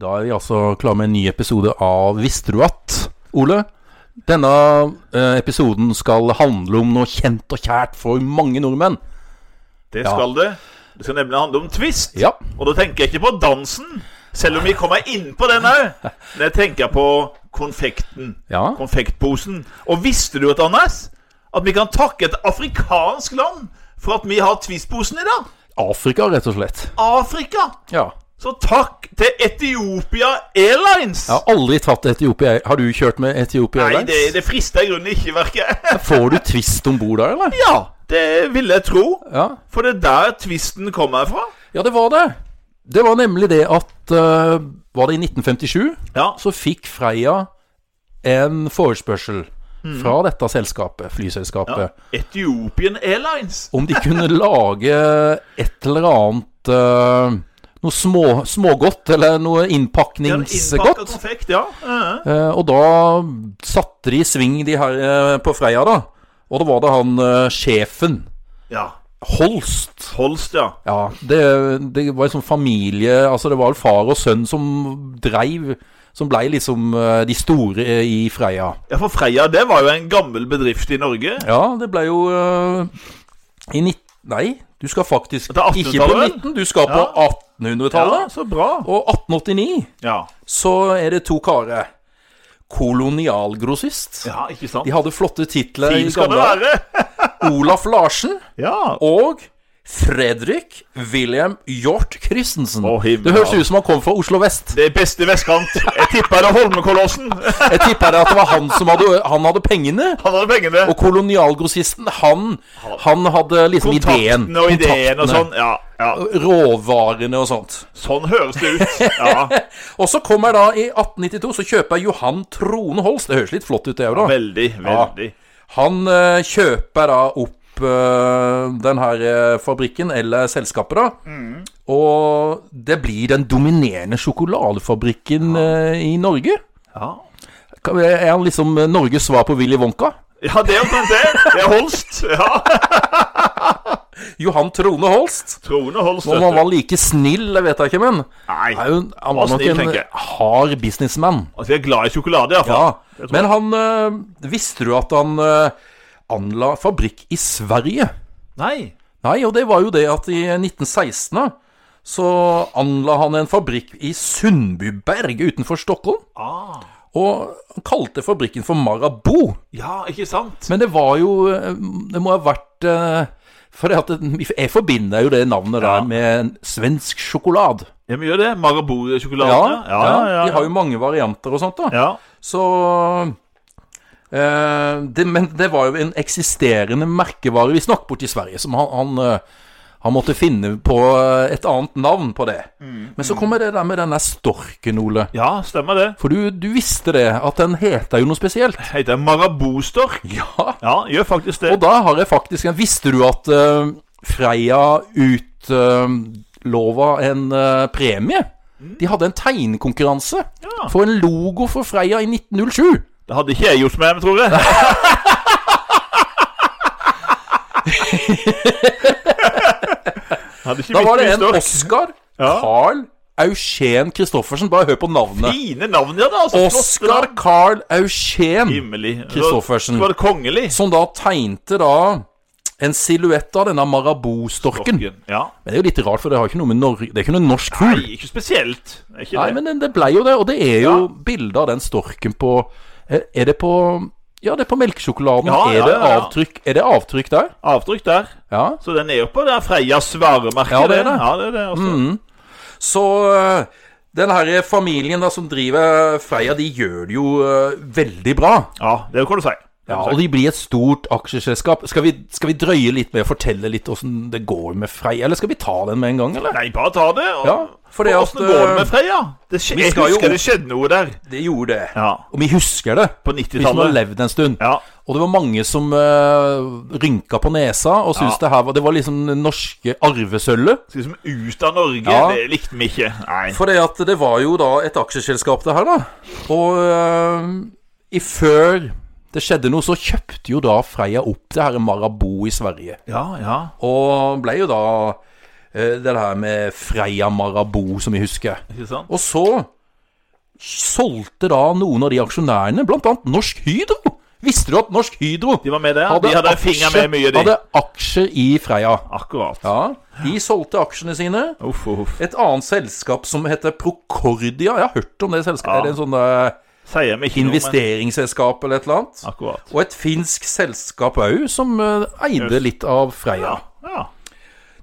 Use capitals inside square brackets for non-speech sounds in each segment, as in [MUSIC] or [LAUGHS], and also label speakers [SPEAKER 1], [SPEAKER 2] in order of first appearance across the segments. [SPEAKER 1] Da er vi altså klare med en ny episode av Visste du at? Ole, denne eh, episoden skal handle om noe kjent og kjært for mange nordmenn.
[SPEAKER 2] Det
[SPEAKER 1] Ja.
[SPEAKER 2] skal det. Det skal nemlig handle om twist.
[SPEAKER 1] Ja.
[SPEAKER 2] Og da tenker jeg ikke på dansen, selv om vi kommer inn på den òg. Men jeg tenker på konfekten.
[SPEAKER 1] Ja.
[SPEAKER 2] Konfektposen. Og visste du at, Anders, at vi kan takke et afrikansk land for at vi har Twist-posen i dag?
[SPEAKER 1] Afrika, rett og slett.
[SPEAKER 2] Afrika.
[SPEAKER 1] Ja.
[SPEAKER 2] Så takk til Etiopia Airlines.
[SPEAKER 1] Jeg har aldri tatt Etiopia Har du kjørt med Etiopia
[SPEAKER 2] Nei, det,
[SPEAKER 1] Airlines?
[SPEAKER 2] det frister i grunnen ikke,
[SPEAKER 1] [LAUGHS]
[SPEAKER 2] virker jeg.
[SPEAKER 1] Får du twist om bord der, eller?
[SPEAKER 2] Ja, det ville jeg tro.
[SPEAKER 1] Ja.
[SPEAKER 2] For det er der twisten kommer fra.
[SPEAKER 1] ja, det var det. Det var nemlig det at eh, Var det i 1957?
[SPEAKER 2] Ja,
[SPEAKER 1] så fikk Freia en forespørsel fra dette selskapet, flyselskapet,
[SPEAKER 2] Ethiopian Airlines.
[SPEAKER 1] om de kunne lage et eller annet eh, Noe små, smågodt, eller noe
[SPEAKER 2] Ja, innpakket
[SPEAKER 1] innpakningsgodt.
[SPEAKER 2] konfekt, ja. Mhm.
[SPEAKER 1] Eh, og da satte de i sving de her eh, på Freia, da. Og da var det han eh, sjefen,
[SPEAKER 2] ja.
[SPEAKER 1] Holst,
[SPEAKER 2] Holst, ja.
[SPEAKER 1] Ja, det, det var en sånn familie Altså det var vel far og sønn som dreiv Som blei liksom eh, de store eh, i Freia
[SPEAKER 2] Ja, For Freia det var jo en gammel bedrift i Norge.
[SPEAKER 1] Ja, det blei jo eh, I 19... Nei, du skal faktisk
[SPEAKER 2] Det er
[SPEAKER 1] Ikke på
[SPEAKER 2] 1800-tallet.
[SPEAKER 1] 19, du skal på
[SPEAKER 2] Ja.
[SPEAKER 1] 1800-tallet
[SPEAKER 2] så bra.
[SPEAKER 1] Og 1889
[SPEAKER 2] Ja,
[SPEAKER 1] så er det to kare Kolonialgrossist
[SPEAKER 2] ja ikke sant?
[SPEAKER 1] De hadde flotte titler i
[SPEAKER 2] Fin skal det
[SPEAKER 1] gamle dager.
[SPEAKER 2] være.
[SPEAKER 1] Olaf Larsen
[SPEAKER 2] Ja.
[SPEAKER 1] Og Fredrik William Hjort Christensen.
[SPEAKER 2] Å, himmel.
[SPEAKER 1] det høres ut som han kom fra Oslo vest.
[SPEAKER 2] Det er beste vestkant. Jeg tipper det er Holmenkollåsen. [LAUGHS]
[SPEAKER 1] Jeg tippa det at det var han som hadde, han hadde pengene.
[SPEAKER 2] Han hadde pengene.
[SPEAKER 1] Og kolonialgrossisten, han, han hadde liksom ideen.
[SPEAKER 2] Kontaktene og ideen og
[SPEAKER 1] Kontaktene.
[SPEAKER 2] sånn. Ja, ja.
[SPEAKER 1] Råvarene og sånt.
[SPEAKER 2] Sånn høres det ut. Ja,
[SPEAKER 1] Og så kommer jeg da i 1892, så kjøper jeg Johan Trone Holst. Det høres litt flott ut, det òg, da.
[SPEAKER 2] Veldig, veldig.
[SPEAKER 1] Han eh, kjøper da opp eh, den her eh, fabrikken, eller selskapet, da.
[SPEAKER 2] Mm.
[SPEAKER 1] Og det blir den dominerende sjokoladefabrikken eh, i Norge.
[SPEAKER 2] Ja.
[SPEAKER 1] Kan- Er han liksom eh, Norges svar på Willy Wonka?
[SPEAKER 2] Ja, det er omtrent det. Det er Holst. Ja.
[SPEAKER 1] Johan Trone Holst?
[SPEAKER 2] Trone Holst.
[SPEAKER 1] Om
[SPEAKER 2] vet
[SPEAKER 1] han
[SPEAKER 2] du.
[SPEAKER 1] var like snill, det vet jeg ikke, men
[SPEAKER 2] Nei.
[SPEAKER 1] er jo, han var
[SPEAKER 2] var
[SPEAKER 1] nok
[SPEAKER 2] snill,
[SPEAKER 1] en
[SPEAKER 2] tenker jeg.
[SPEAKER 1] hard businessman.
[SPEAKER 2] Altså, jeg er glad i sjokolade,
[SPEAKER 1] Ja.
[SPEAKER 2] iallfall.
[SPEAKER 1] Men han eh, Visste du at han eh, anla fabrikk i Sverige?
[SPEAKER 2] Nei.
[SPEAKER 1] Nei, og det var jo det at i 1916 da, så anla han en fabrikk i Sundbyberg utenfor Stockholm.
[SPEAKER 2] Ah.
[SPEAKER 1] Og han kalte fabrikken for Marabou.
[SPEAKER 2] Ja, ikke sant?
[SPEAKER 1] Men det var jo eh, Det må ha vært eh, For det at det, jeg forbinder jo det navnet
[SPEAKER 2] Ja.
[SPEAKER 1] der med en svensk sjokolade.
[SPEAKER 2] Ja, vi gjør det. Marabou-sjokolade.
[SPEAKER 1] Ja, ja,
[SPEAKER 2] ja,
[SPEAKER 1] de har jo mange varianter og sånt, da.
[SPEAKER 2] ja.
[SPEAKER 1] Så eh, det, Men det var jo en eksisterende merkevare vi snakk borti Sverige, som han, han eh, han måtte finne på eh, et annet navn på det. Men så kommer det der med denne storken, Ole.
[SPEAKER 2] Ja, stemmer det.
[SPEAKER 1] For du, du visste det, at den heter jo noe spesielt.
[SPEAKER 2] Heter Marabou-stork.
[SPEAKER 1] Ja.
[SPEAKER 2] Ja, gjør faktisk det.
[SPEAKER 1] Og da har jeg faktisk en Visste du at eh, Freia utlova en eh, premie? De hadde en tegnekonkurranse
[SPEAKER 2] Ja.
[SPEAKER 1] for en logo for Freia i 1907.
[SPEAKER 2] Det hadde ikke jeg gjort med meg, tror jeg. hadde ikke
[SPEAKER 1] Da
[SPEAKER 2] mitt
[SPEAKER 1] var det en
[SPEAKER 2] stork.
[SPEAKER 1] Oscar
[SPEAKER 2] Ja.
[SPEAKER 1] Carl Eugen Christoffersen. Bare hør på navnet.
[SPEAKER 2] Fine navn, ja. da altså, flotte
[SPEAKER 1] Oscar
[SPEAKER 2] navn.
[SPEAKER 1] Carl Eugen,
[SPEAKER 2] Himmelig.
[SPEAKER 1] Kristoffersen.
[SPEAKER 2] Så var det kongelig.
[SPEAKER 1] som da tegnte da en silhuett av denne marabou-storken.
[SPEAKER 2] Storken, Ja.
[SPEAKER 1] Men det er jo litt rart, for det har ikke noe med Norge Det er ikke noe norsk fugl.
[SPEAKER 2] Nei, ikke spesielt. Det er Ikke
[SPEAKER 1] Nei,
[SPEAKER 2] det.
[SPEAKER 1] men det, det blei jo det, og det er jo
[SPEAKER 2] Ja.
[SPEAKER 1] bilde av den storken på er, er det på Ja, det er på melkesjokoladen.
[SPEAKER 2] Ja,
[SPEAKER 1] er,
[SPEAKER 2] ja,
[SPEAKER 1] det
[SPEAKER 2] ja, ja.
[SPEAKER 1] Avtrykk, er det avtrykk der?
[SPEAKER 2] Avtrykk der.
[SPEAKER 1] Ja.
[SPEAKER 2] Så den er jo på det er Freias varemerke.
[SPEAKER 1] Ja, det er det. Mm.
[SPEAKER 2] Ja, det, er det altså.
[SPEAKER 1] Så øh, den her familien da som driver Freia, de gjør det jo øh, veldig bra.
[SPEAKER 2] ja, det kan du si. Det
[SPEAKER 1] Ja,
[SPEAKER 2] kan du si.
[SPEAKER 1] og de blir et stort aksjeselskap. Skal vi, skal vi drøye litt med å fortelle litt åssen det går med Freia, eller skal vi ta den med en gang, eller?
[SPEAKER 2] Nei, bare ta det. Og,
[SPEAKER 1] Ja, for det
[SPEAKER 2] og
[SPEAKER 1] at,
[SPEAKER 2] åssen går det
[SPEAKER 1] eh,
[SPEAKER 2] med Freia? Det skje,
[SPEAKER 1] vi
[SPEAKER 2] jeg
[SPEAKER 1] skal jo
[SPEAKER 2] husker
[SPEAKER 1] opp-
[SPEAKER 2] det skjedde noe der
[SPEAKER 1] Det gjorde det.
[SPEAKER 2] Ja,
[SPEAKER 1] Og vi husker det.
[SPEAKER 2] på
[SPEAKER 1] Vi som har
[SPEAKER 2] 90-tallet.
[SPEAKER 1] levd en stund.
[SPEAKER 2] Ja,
[SPEAKER 1] Og det var mange som eh, rynka på nesa og syntes
[SPEAKER 2] Ja.
[SPEAKER 1] det her var Det var liksom det norske arvesølvet.
[SPEAKER 2] så liksom ut av Norge,
[SPEAKER 1] Ja.
[SPEAKER 2] det likte vi ikke. Nei.
[SPEAKER 1] For det at det var jo da et aksjeselskap, det her, da. Og eh, i før det skjedde noe, så kjøpte jo da Freia opp det her Marabou i Sverige.
[SPEAKER 2] Ja, ja.
[SPEAKER 1] Og ble jo da eh, det her med Freia Marabou, som vi husker.
[SPEAKER 2] Ikke sant?
[SPEAKER 1] Og så solgte da noen av de aksjonærene, bl.a. Norsk Hydro. Visste du at Norsk Hydro
[SPEAKER 2] De var med der. De hadde en finger med mye, de.
[SPEAKER 1] hadde aksjer i Freia?
[SPEAKER 2] Akkurat.
[SPEAKER 1] Ja, de solgte aksjene sine.
[SPEAKER 2] Uff, uff.
[SPEAKER 1] Et annet selskap som heter Procordia. Jeg har hørt om det selskapet.
[SPEAKER 2] Ja.
[SPEAKER 1] Er det en sånn eh,
[SPEAKER 2] Sier vi ikke noe,
[SPEAKER 1] investeringsselskap eller et eller annet?
[SPEAKER 2] men Akkurat.
[SPEAKER 1] Og et finsk selskap òg, som eh, eide litt av Freia.
[SPEAKER 2] Ja.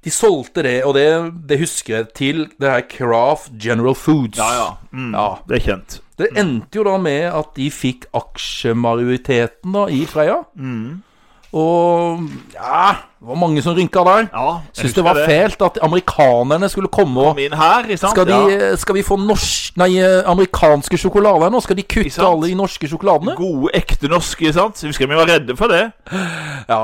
[SPEAKER 1] De solgte det, og det, det husker jeg, til det her Craft General Foods.
[SPEAKER 2] Ja, ja. Mm.
[SPEAKER 1] Ja.
[SPEAKER 2] Det er kjent.
[SPEAKER 1] Det endte jo da med at de fikk aksjemajoriteten da i Freia.
[SPEAKER 2] Mm.
[SPEAKER 1] Og ja, det var mange som rynka der.
[SPEAKER 2] Ja, jeg
[SPEAKER 1] Syns
[SPEAKER 2] husker
[SPEAKER 1] det var fælt at amerikanerne skulle komme og
[SPEAKER 2] Min her, ikke sant?
[SPEAKER 1] skal,
[SPEAKER 2] ja.
[SPEAKER 1] de, skal vi få norsk, nei, eh, amerikanske sjokolader nå? Skal de
[SPEAKER 2] Ikke
[SPEAKER 1] kutte
[SPEAKER 2] sant?
[SPEAKER 1] alle de norske sjokoladene?
[SPEAKER 2] Gode, ekte norske, ikke sant? Jeg Husker vi var redde for det.
[SPEAKER 1] Ja.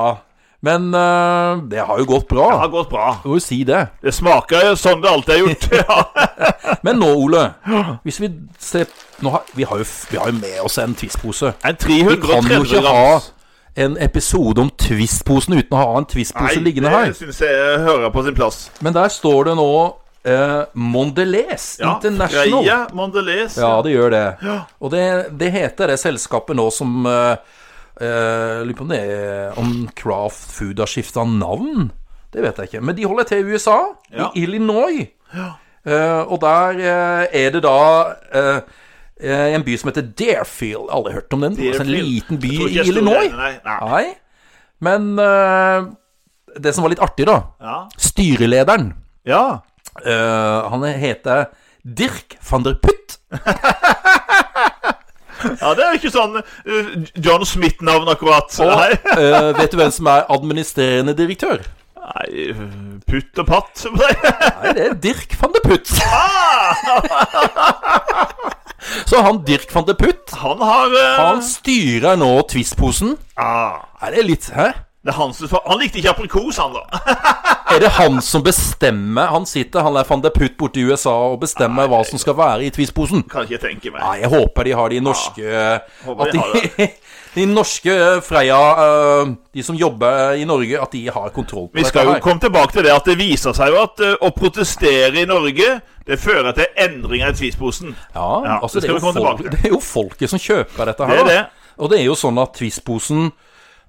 [SPEAKER 1] Men eh, det har jo gått bra.
[SPEAKER 2] Det har gått bra.
[SPEAKER 1] Må jo si det.
[SPEAKER 2] Det smaker jo sånn det alltid har
[SPEAKER 1] [LAUGHS]
[SPEAKER 2] gjort. Ja.
[SPEAKER 1] Men nå, Ole. Hvis vi ser nå har, vi, har jo, f- vi har jo med oss en Twist-pose.
[SPEAKER 2] En
[SPEAKER 1] Vi kan jo
[SPEAKER 2] 330
[SPEAKER 1] ikke ha
[SPEAKER 2] grams.
[SPEAKER 1] en episode om Twist-posen uten å ha en Twist-pose liggende her.
[SPEAKER 2] det syns jeg hører på sin plass.
[SPEAKER 1] Men der står det nå eh, Mondelez
[SPEAKER 2] Ja,
[SPEAKER 1] International.
[SPEAKER 2] Freia Mondelez.
[SPEAKER 1] Ja, det gjør det. Og det, det heter det selskapet nå som eh, eh, Lurer på om det er om Craft Food har skifta navn? Det vet jeg ikke. Men de holder til i USA,
[SPEAKER 2] Ja.
[SPEAKER 1] i Illinois. Eh, og der eh, er det da eh, eh, en by som heter Deerfield. Alle har hørt om den? Altså en
[SPEAKER 2] Deerfield.
[SPEAKER 1] liten by
[SPEAKER 2] Jeg tror ikke
[SPEAKER 1] i
[SPEAKER 2] jeg sto
[SPEAKER 1] Illinois.
[SPEAKER 2] der, Nei. nei.
[SPEAKER 1] Nei. Men eh, det som var litt artig, da
[SPEAKER 2] Ja.
[SPEAKER 1] Styrelederen,
[SPEAKER 2] ja.
[SPEAKER 1] eh, han heter Dirk van der Putt.
[SPEAKER 2] Ja, det er jo ikke sånn eh, John Smith-navn, akkurat. Nei.
[SPEAKER 1] Og [LAUGHS] eh, vet du hvem som er administrerende direktør?
[SPEAKER 2] Nei, putt og patt. [LAUGHS] som det er.
[SPEAKER 1] Nei, det er Dirk van de Putt. Ah! [LAUGHS] Så han Dirk van de Putt,
[SPEAKER 2] Han har eh,
[SPEAKER 1] han styrer nå Twist-posen.
[SPEAKER 2] ah,
[SPEAKER 1] Er det litt Hæ?
[SPEAKER 2] det er hans, Han likte ikke aprikos, han, da. [LAUGHS]
[SPEAKER 1] Er det han som bestemmer? Han sitter, han er van de Putt borte i USA og bestemmer hva som skal være i Twist-posen.
[SPEAKER 2] Kan ikke tenke meg.
[SPEAKER 1] Nei, jeg håper de har de norske
[SPEAKER 2] håper
[SPEAKER 1] At
[SPEAKER 2] de har
[SPEAKER 1] de, [LAUGHS] de norske Freia, eh, de som jobber i Norge, at de har kontroll på
[SPEAKER 2] Vi skal jo
[SPEAKER 1] dette her.
[SPEAKER 2] komme tilbake til det at det viser seg jo at eh, å protestere i Norge det fører til endringer i tvisposen.
[SPEAKER 1] Ja,
[SPEAKER 2] Ja,
[SPEAKER 1] altså
[SPEAKER 2] det
[SPEAKER 1] det,
[SPEAKER 2] skal
[SPEAKER 1] er
[SPEAKER 2] vi
[SPEAKER 1] jo folk,
[SPEAKER 2] komme tilbake til.
[SPEAKER 1] det er jo folket som kjøper dette
[SPEAKER 2] Det
[SPEAKER 1] her.
[SPEAKER 2] er
[SPEAKER 1] da.
[SPEAKER 2] det.
[SPEAKER 1] Og det er jo sånn at Twist-posen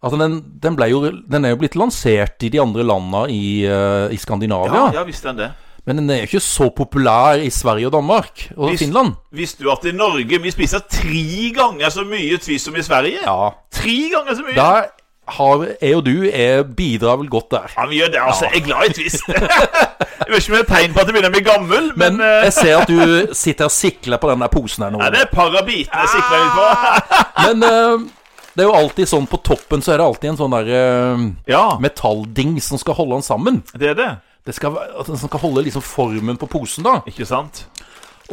[SPEAKER 1] altså den, den, ble jo, den er jo blitt lansert i de andre landa i, eh, i
[SPEAKER 2] Ja,
[SPEAKER 1] Skandinavia.
[SPEAKER 2] ja visste han det.
[SPEAKER 1] Men den er jo ikke så populær i Sverige og Danmark og
[SPEAKER 2] Visst-
[SPEAKER 1] Finland.
[SPEAKER 2] Visste du at i Norge vi spiser tre ganger så mye tvist som i Sverige?
[SPEAKER 1] Ja.
[SPEAKER 2] Tre ganger så mye!
[SPEAKER 1] Der har, er jo du er, bidrar vel godt der.
[SPEAKER 2] Ja, vi gjør det, altså. Jeg er glad i tvist. [LAUGHS] jeg vet ikke om det er tegn på at jeg begynner å bli gammel, men,
[SPEAKER 1] Men
[SPEAKER 2] eh,
[SPEAKER 1] jeg ser at du sitter og sikler på den der posen her nå.
[SPEAKER 2] ja, det er et par av bitene jeg sikler litt
[SPEAKER 1] Ah!
[SPEAKER 2] [LAUGHS] på.
[SPEAKER 1] Men eh, det er jo alltid sånn på toppen så er det alltid en sånn der eh,
[SPEAKER 2] ja,
[SPEAKER 1] metallding som skal holde den sammen.
[SPEAKER 2] det er det.
[SPEAKER 1] Det skal, være- altså, den skal holde liksom formen på posen, da.
[SPEAKER 2] Ikke sant?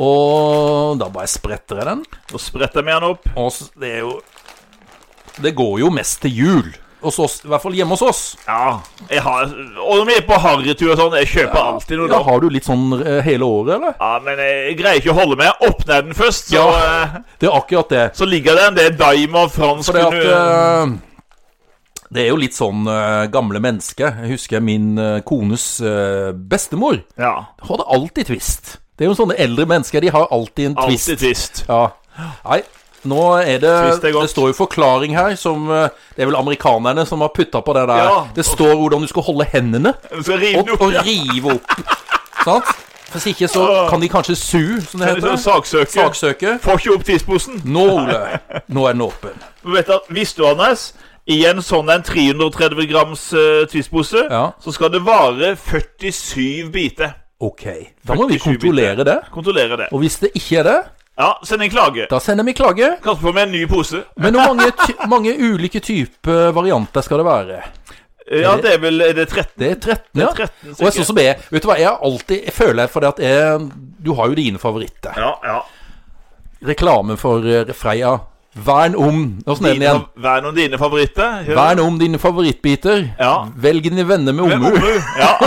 [SPEAKER 1] Og da bare spretter jeg den.
[SPEAKER 2] Nå spretter vi den opp.
[SPEAKER 1] Og s- det er jo Det går jo mest til jul. Hos oss, I hvert fall hjemme hos oss.
[SPEAKER 2] Ja, jeg har Og når vi er på harrytur og sånn, jeg kjøper alltid noe.
[SPEAKER 1] Ja,
[SPEAKER 2] da.
[SPEAKER 1] har du litt sånn eh, hele året, eller?
[SPEAKER 2] Ja, men jeg greier ikke å holde meg. Jeg Åpner den først, så, eh,
[SPEAKER 1] Det er akkurat det.
[SPEAKER 2] så ligger det en del daim og fransk
[SPEAKER 1] For det at
[SPEAKER 2] under-
[SPEAKER 1] eh, Det er jo litt sånn eh, gamle mennesker. Jeg husker min eh, kones eh, bestemor.
[SPEAKER 2] Ja,
[SPEAKER 1] Hun hadde alltid twist. Det er jo sånne eldre mennesker. De har alltid en twist.
[SPEAKER 2] alltid tvist.
[SPEAKER 1] Ja. Nei, nå er det
[SPEAKER 2] Twist er
[SPEAKER 1] Det
[SPEAKER 2] godt.
[SPEAKER 1] står jo forklaring her som eh, Det er vel amerikanerne som har putta på det der.
[SPEAKER 2] Ja.
[SPEAKER 1] Det står hvordan du skal holde hendene.
[SPEAKER 2] Du skal rive
[SPEAKER 1] opp
[SPEAKER 2] den opp.
[SPEAKER 1] og rive opp. Sant? Hvis ikke så kan de kanskje su, som det
[SPEAKER 2] Eller så
[SPEAKER 1] heter.
[SPEAKER 2] Saksøker.
[SPEAKER 1] Saksøke.
[SPEAKER 2] Får ikke opp tidsposen.
[SPEAKER 1] Nå, Ole, nå er den åpen.
[SPEAKER 2] Du vet at, Visste du, Anders, i en sånn en 330 grams uh, tidspose,
[SPEAKER 1] Ja.
[SPEAKER 2] så skal det vare 47 biter.
[SPEAKER 1] Ok. Da må vi
[SPEAKER 2] 47
[SPEAKER 1] kontrollere det.
[SPEAKER 2] Kontrollere det.
[SPEAKER 1] Og hvis det ikke er det,
[SPEAKER 2] Ja, send en klage.
[SPEAKER 1] da sender vi klage.
[SPEAKER 2] Kanskje få med en ny pose.
[SPEAKER 1] Men hvor mange, ty- mange ulike typer varianter skal det være?
[SPEAKER 2] Eh, Ja, det er vel Er det 13?
[SPEAKER 1] Det er 13, ja.
[SPEAKER 2] 13
[SPEAKER 1] Og jeg, sånn som jeg, vet du hva, jeg har alltid jeg føler for det at jeg, Du har jo dine favoritter.
[SPEAKER 2] Ja, ja.
[SPEAKER 1] Reklame for eh, Freia. Vern om Åssen er den igjen?
[SPEAKER 2] Dine, hva er noen av dine favoritter? Ja.
[SPEAKER 1] Vern om dine favorittbiter.
[SPEAKER 2] Ja.
[SPEAKER 1] Velg dine venner med omhu.
[SPEAKER 2] Ja,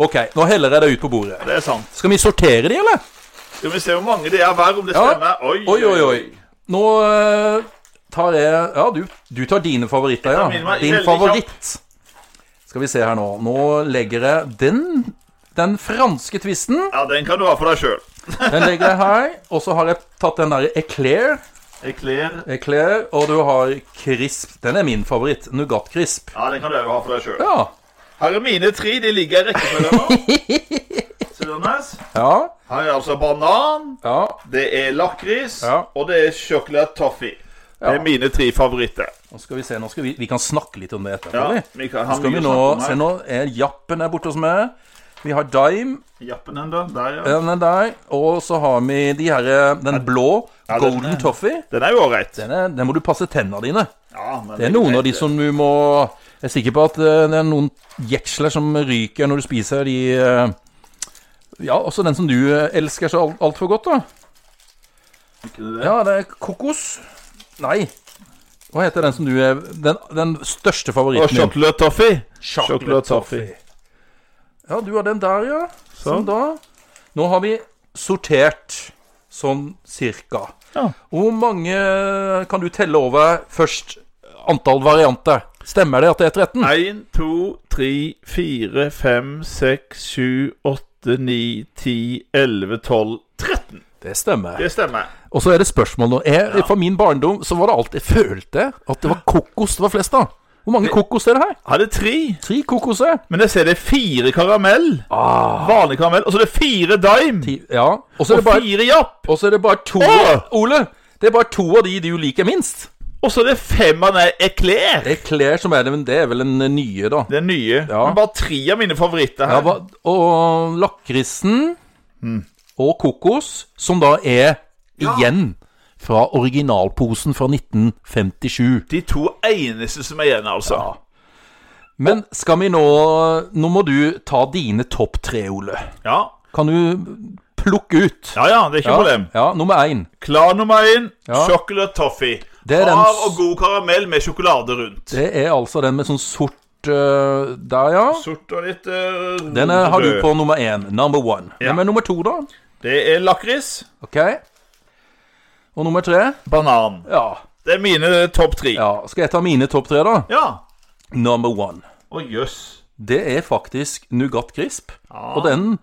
[SPEAKER 1] Ok, nå heller jeg det ut på bordet.
[SPEAKER 2] det er sant.
[SPEAKER 1] Skal vi sortere de, eller?
[SPEAKER 2] Skal vi se hvor mange det er hver, om det stemmer. Oi,
[SPEAKER 1] Oi, oi, oi. Nå eh, tar jeg Ja, du, du tar dine favoritter,
[SPEAKER 2] Jeg tar mine
[SPEAKER 1] ja.
[SPEAKER 2] meg
[SPEAKER 1] Din
[SPEAKER 2] veldig
[SPEAKER 1] favoritt. Skal vi se her nå. Nå legger jeg den. Den franske tvisten.
[SPEAKER 2] Ja, den kan du ha for deg sjøl.
[SPEAKER 1] Den legger jeg her. Og så har jeg tatt den der Eclair.
[SPEAKER 2] Eclair.
[SPEAKER 1] Eclair og du har Crisp. Den er min favoritt. Nougat Crisp.
[SPEAKER 2] Ja, den kan du òg ha for deg sjøl.
[SPEAKER 1] Ja.
[SPEAKER 2] Her er mine tre. De ligger i
[SPEAKER 1] [LAUGHS]
[SPEAKER 2] rekkefølge nå. Ser du, Anders?
[SPEAKER 1] Ja.
[SPEAKER 2] Her er altså banan,
[SPEAKER 1] Ja.
[SPEAKER 2] det er lakris,
[SPEAKER 1] Ja.
[SPEAKER 2] og det er sjokolade toffee. Det
[SPEAKER 1] Ja.
[SPEAKER 2] er mine tre favoritter.
[SPEAKER 1] Nå skal vi se. Nå skal vi, vi kan snakke litt om det etterpå.
[SPEAKER 2] Ja,
[SPEAKER 1] vi.
[SPEAKER 2] vi kan-
[SPEAKER 1] Nå
[SPEAKER 2] har
[SPEAKER 1] skal
[SPEAKER 2] mye
[SPEAKER 1] vi
[SPEAKER 2] å
[SPEAKER 1] nå
[SPEAKER 2] snakke om her.
[SPEAKER 1] Se, nå er Jappen er borte hos meg. Vi har Dime.
[SPEAKER 2] Jappen den, da. Der, ja.
[SPEAKER 1] Den er der. Og så har vi de her, eh, den blå.
[SPEAKER 2] Ja, den
[SPEAKER 1] Golden
[SPEAKER 2] er-
[SPEAKER 1] Toffee.
[SPEAKER 2] Den er jo ålreit.
[SPEAKER 1] Den, er, den må du passe tennene dine.
[SPEAKER 2] Ja, men
[SPEAKER 1] Det er noen av de som du må Jeg er sikker på at eh, det er noen jeksler som ryker når du spiser de eh, Ja, også den som du eh, elsker så alt- altfor godt, da.
[SPEAKER 2] Ja.
[SPEAKER 1] Ja, det er kokos. Nei. Hva heter den som du er Den, den største
[SPEAKER 2] Og
[SPEAKER 1] favoritten din?
[SPEAKER 2] sjokolade toffee.
[SPEAKER 1] Chocolate
[SPEAKER 2] Chocolate toffee.
[SPEAKER 1] Ja, du har den der, ja. Sånn
[SPEAKER 2] Sånn.
[SPEAKER 1] da. Nå har vi sortert sånn cirka.
[SPEAKER 2] Ja.
[SPEAKER 1] Hvor mange kan du telle over først antall varianter? Stemmer det at det er 13?
[SPEAKER 2] 1, 2, 3, 4, 5, 6, 7, 8, 9, 10, 11, 12, 13.
[SPEAKER 1] Det stemmer.
[SPEAKER 2] Det stemmer.
[SPEAKER 1] Og så er det spørsmål nå. Jeg, For min barndom så var det alt jeg følte at det var kokos det var flest av. Hvor mange kokos er det her?
[SPEAKER 2] Jeg hadde tre,
[SPEAKER 1] Tre kokoser.
[SPEAKER 2] men jeg ser det er fire karamell. Vanlig karamell. Og så er det fire dime.
[SPEAKER 1] Ah. Ti- Ja. Og så er
[SPEAKER 2] Og
[SPEAKER 1] det bare,
[SPEAKER 2] fire japp.
[SPEAKER 1] og så er det bare to
[SPEAKER 2] Åh!
[SPEAKER 1] Ole, det er bare to av de du liker minst.
[SPEAKER 2] Og så er det fem av den ekler.
[SPEAKER 1] Det er Claire som er det, men det er vel den nye, da.
[SPEAKER 2] Den nye.
[SPEAKER 1] Ja.
[SPEAKER 2] Men bare tre av mine favoritter
[SPEAKER 1] Ja,
[SPEAKER 2] her.
[SPEAKER 1] hva- og lakrisen Mm. og kokos, som da er igjen fra originalposen fra 1957.
[SPEAKER 2] De to eneste som er igjen, altså.
[SPEAKER 1] Men skal vi nå Nå må du ta dine topp tre, Ole.
[SPEAKER 2] Ja,
[SPEAKER 1] Kan du plukke ut?
[SPEAKER 2] ja, ja det er ikke problem.
[SPEAKER 1] ja nummer én.
[SPEAKER 2] Klar nummer én.
[SPEAKER 1] Ja.
[SPEAKER 2] Chocolate toffee.
[SPEAKER 1] Det er den
[SPEAKER 2] Av
[SPEAKER 1] s-
[SPEAKER 2] og god karamell med sjokolade rundt.
[SPEAKER 1] Det er altså den med sånn sort øh, der, ja.
[SPEAKER 2] Sort og litt uh,
[SPEAKER 1] Den øh, har du på nummer én. Number one.
[SPEAKER 2] Ja.
[SPEAKER 1] Hvem er nummer to, da?
[SPEAKER 2] Det er lakris.
[SPEAKER 1] Ok. Og nummer tre?
[SPEAKER 2] Banan.
[SPEAKER 1] Ja.
[SPEAKER 2] Det er mine eh, topp tre.
[SPEAKER 1] ja. Skal jeg ta mine topp tre, da?
[SPEAKER 2] Ja.
[SPEAKER 1] Number one.
[SPEAKER 2] Å, jøss.
[SPEAKER 1] Det er faktisk Nougat Crisp. Og den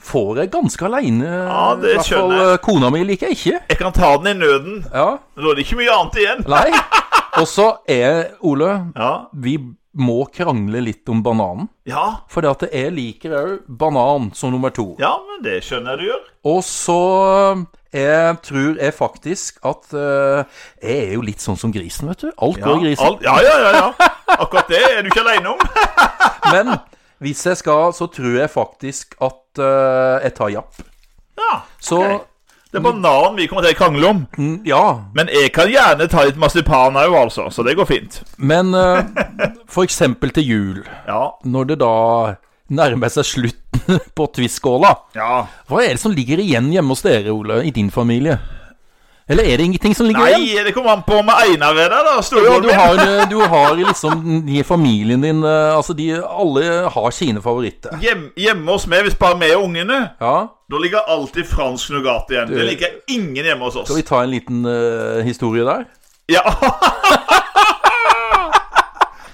[SPEAKER 1] får jeg ganske aleine. Ja,
[SPEAKER 2] det skjønner jeg.
[SPEAKER 1] eh, kona mi liker jeg ikke.
[SPEAKER 2] Jeg kan ta den i nøden.
[SPEAKER 1] Ja.
[SPEAKER 2] Men Da er det ikke mye annet igjen.
[SPEAKER 1] Nei. Og så er Ole
[SPEAKER 2] Ja.
[SPEAKER 1] Vi må krangle litt om bananen.
[SPEAKER 2] Ja,
[SPEAKER 1] For det at jeg liker òg banan som nummer to.
[SPEAKER 2] ja men det skjønner jeg du gjør.
[SPEAKER 1] Og så eh, jeg tror jeg faktisk at eh, Jeg er jo litt sånn som grisen, vet du. Alt går i grisen.
[SPEAKER 2] alt- ja, ja, ja, ja. Akkurat det er du ikke aleine om.
[SPEAKER 1] Men hvis jeg skal, så tror jeg faktisk at eh, jeg tar japp.
[SPEAKER 2] Ja,
[SPEAKER 1] Så
[SPEAKER 2] ok. Det er banan vi kommer til å krangle om.
[SPEAKER 1] mm, ja.
[SPEAKER 2] Men jeg kan gjerne ta litt marsipan òg, altså. Så det går fint.
[SPEAKER 1] Men eh, for eksempel til jul,
[SPEAKER 2] Ja.
[SPEAKER 1] når det da nærmer seg slutten [LAUGHS] på Twist-skåla.
[SPEAKER 2] ja.
[SPEAKER 1] Hva er det som ligger igjen hjemme hos dere, Ole, i din familie? Eller er det ingenting som ligger igjen?
[SPEAKER 2] Nei, det kommer an på om Einar er der, da.
[SPEAKER 1] Ja,
[SPEAKER 2] Storebroren
[SPEAKER 1] du
[SPEAKER 2] min.
[SPEAKER 1] har, eh, du har liksom de i familien din eh, Altså, de alle har sine favoritter.
[SPEAKER 2] Hjem, hjemme hos meg, hvis bare vi og ungene,
[SPEAKER 1] Ja,
[SPEAKER 2] da ligger alltid fransk nougat igjen. Det ligger ingen hjemme hos oss.
[SPEAKER 1] skal vi ta en liten eh, historie der?
[SPEAKER 2] Ja [LAUGHS]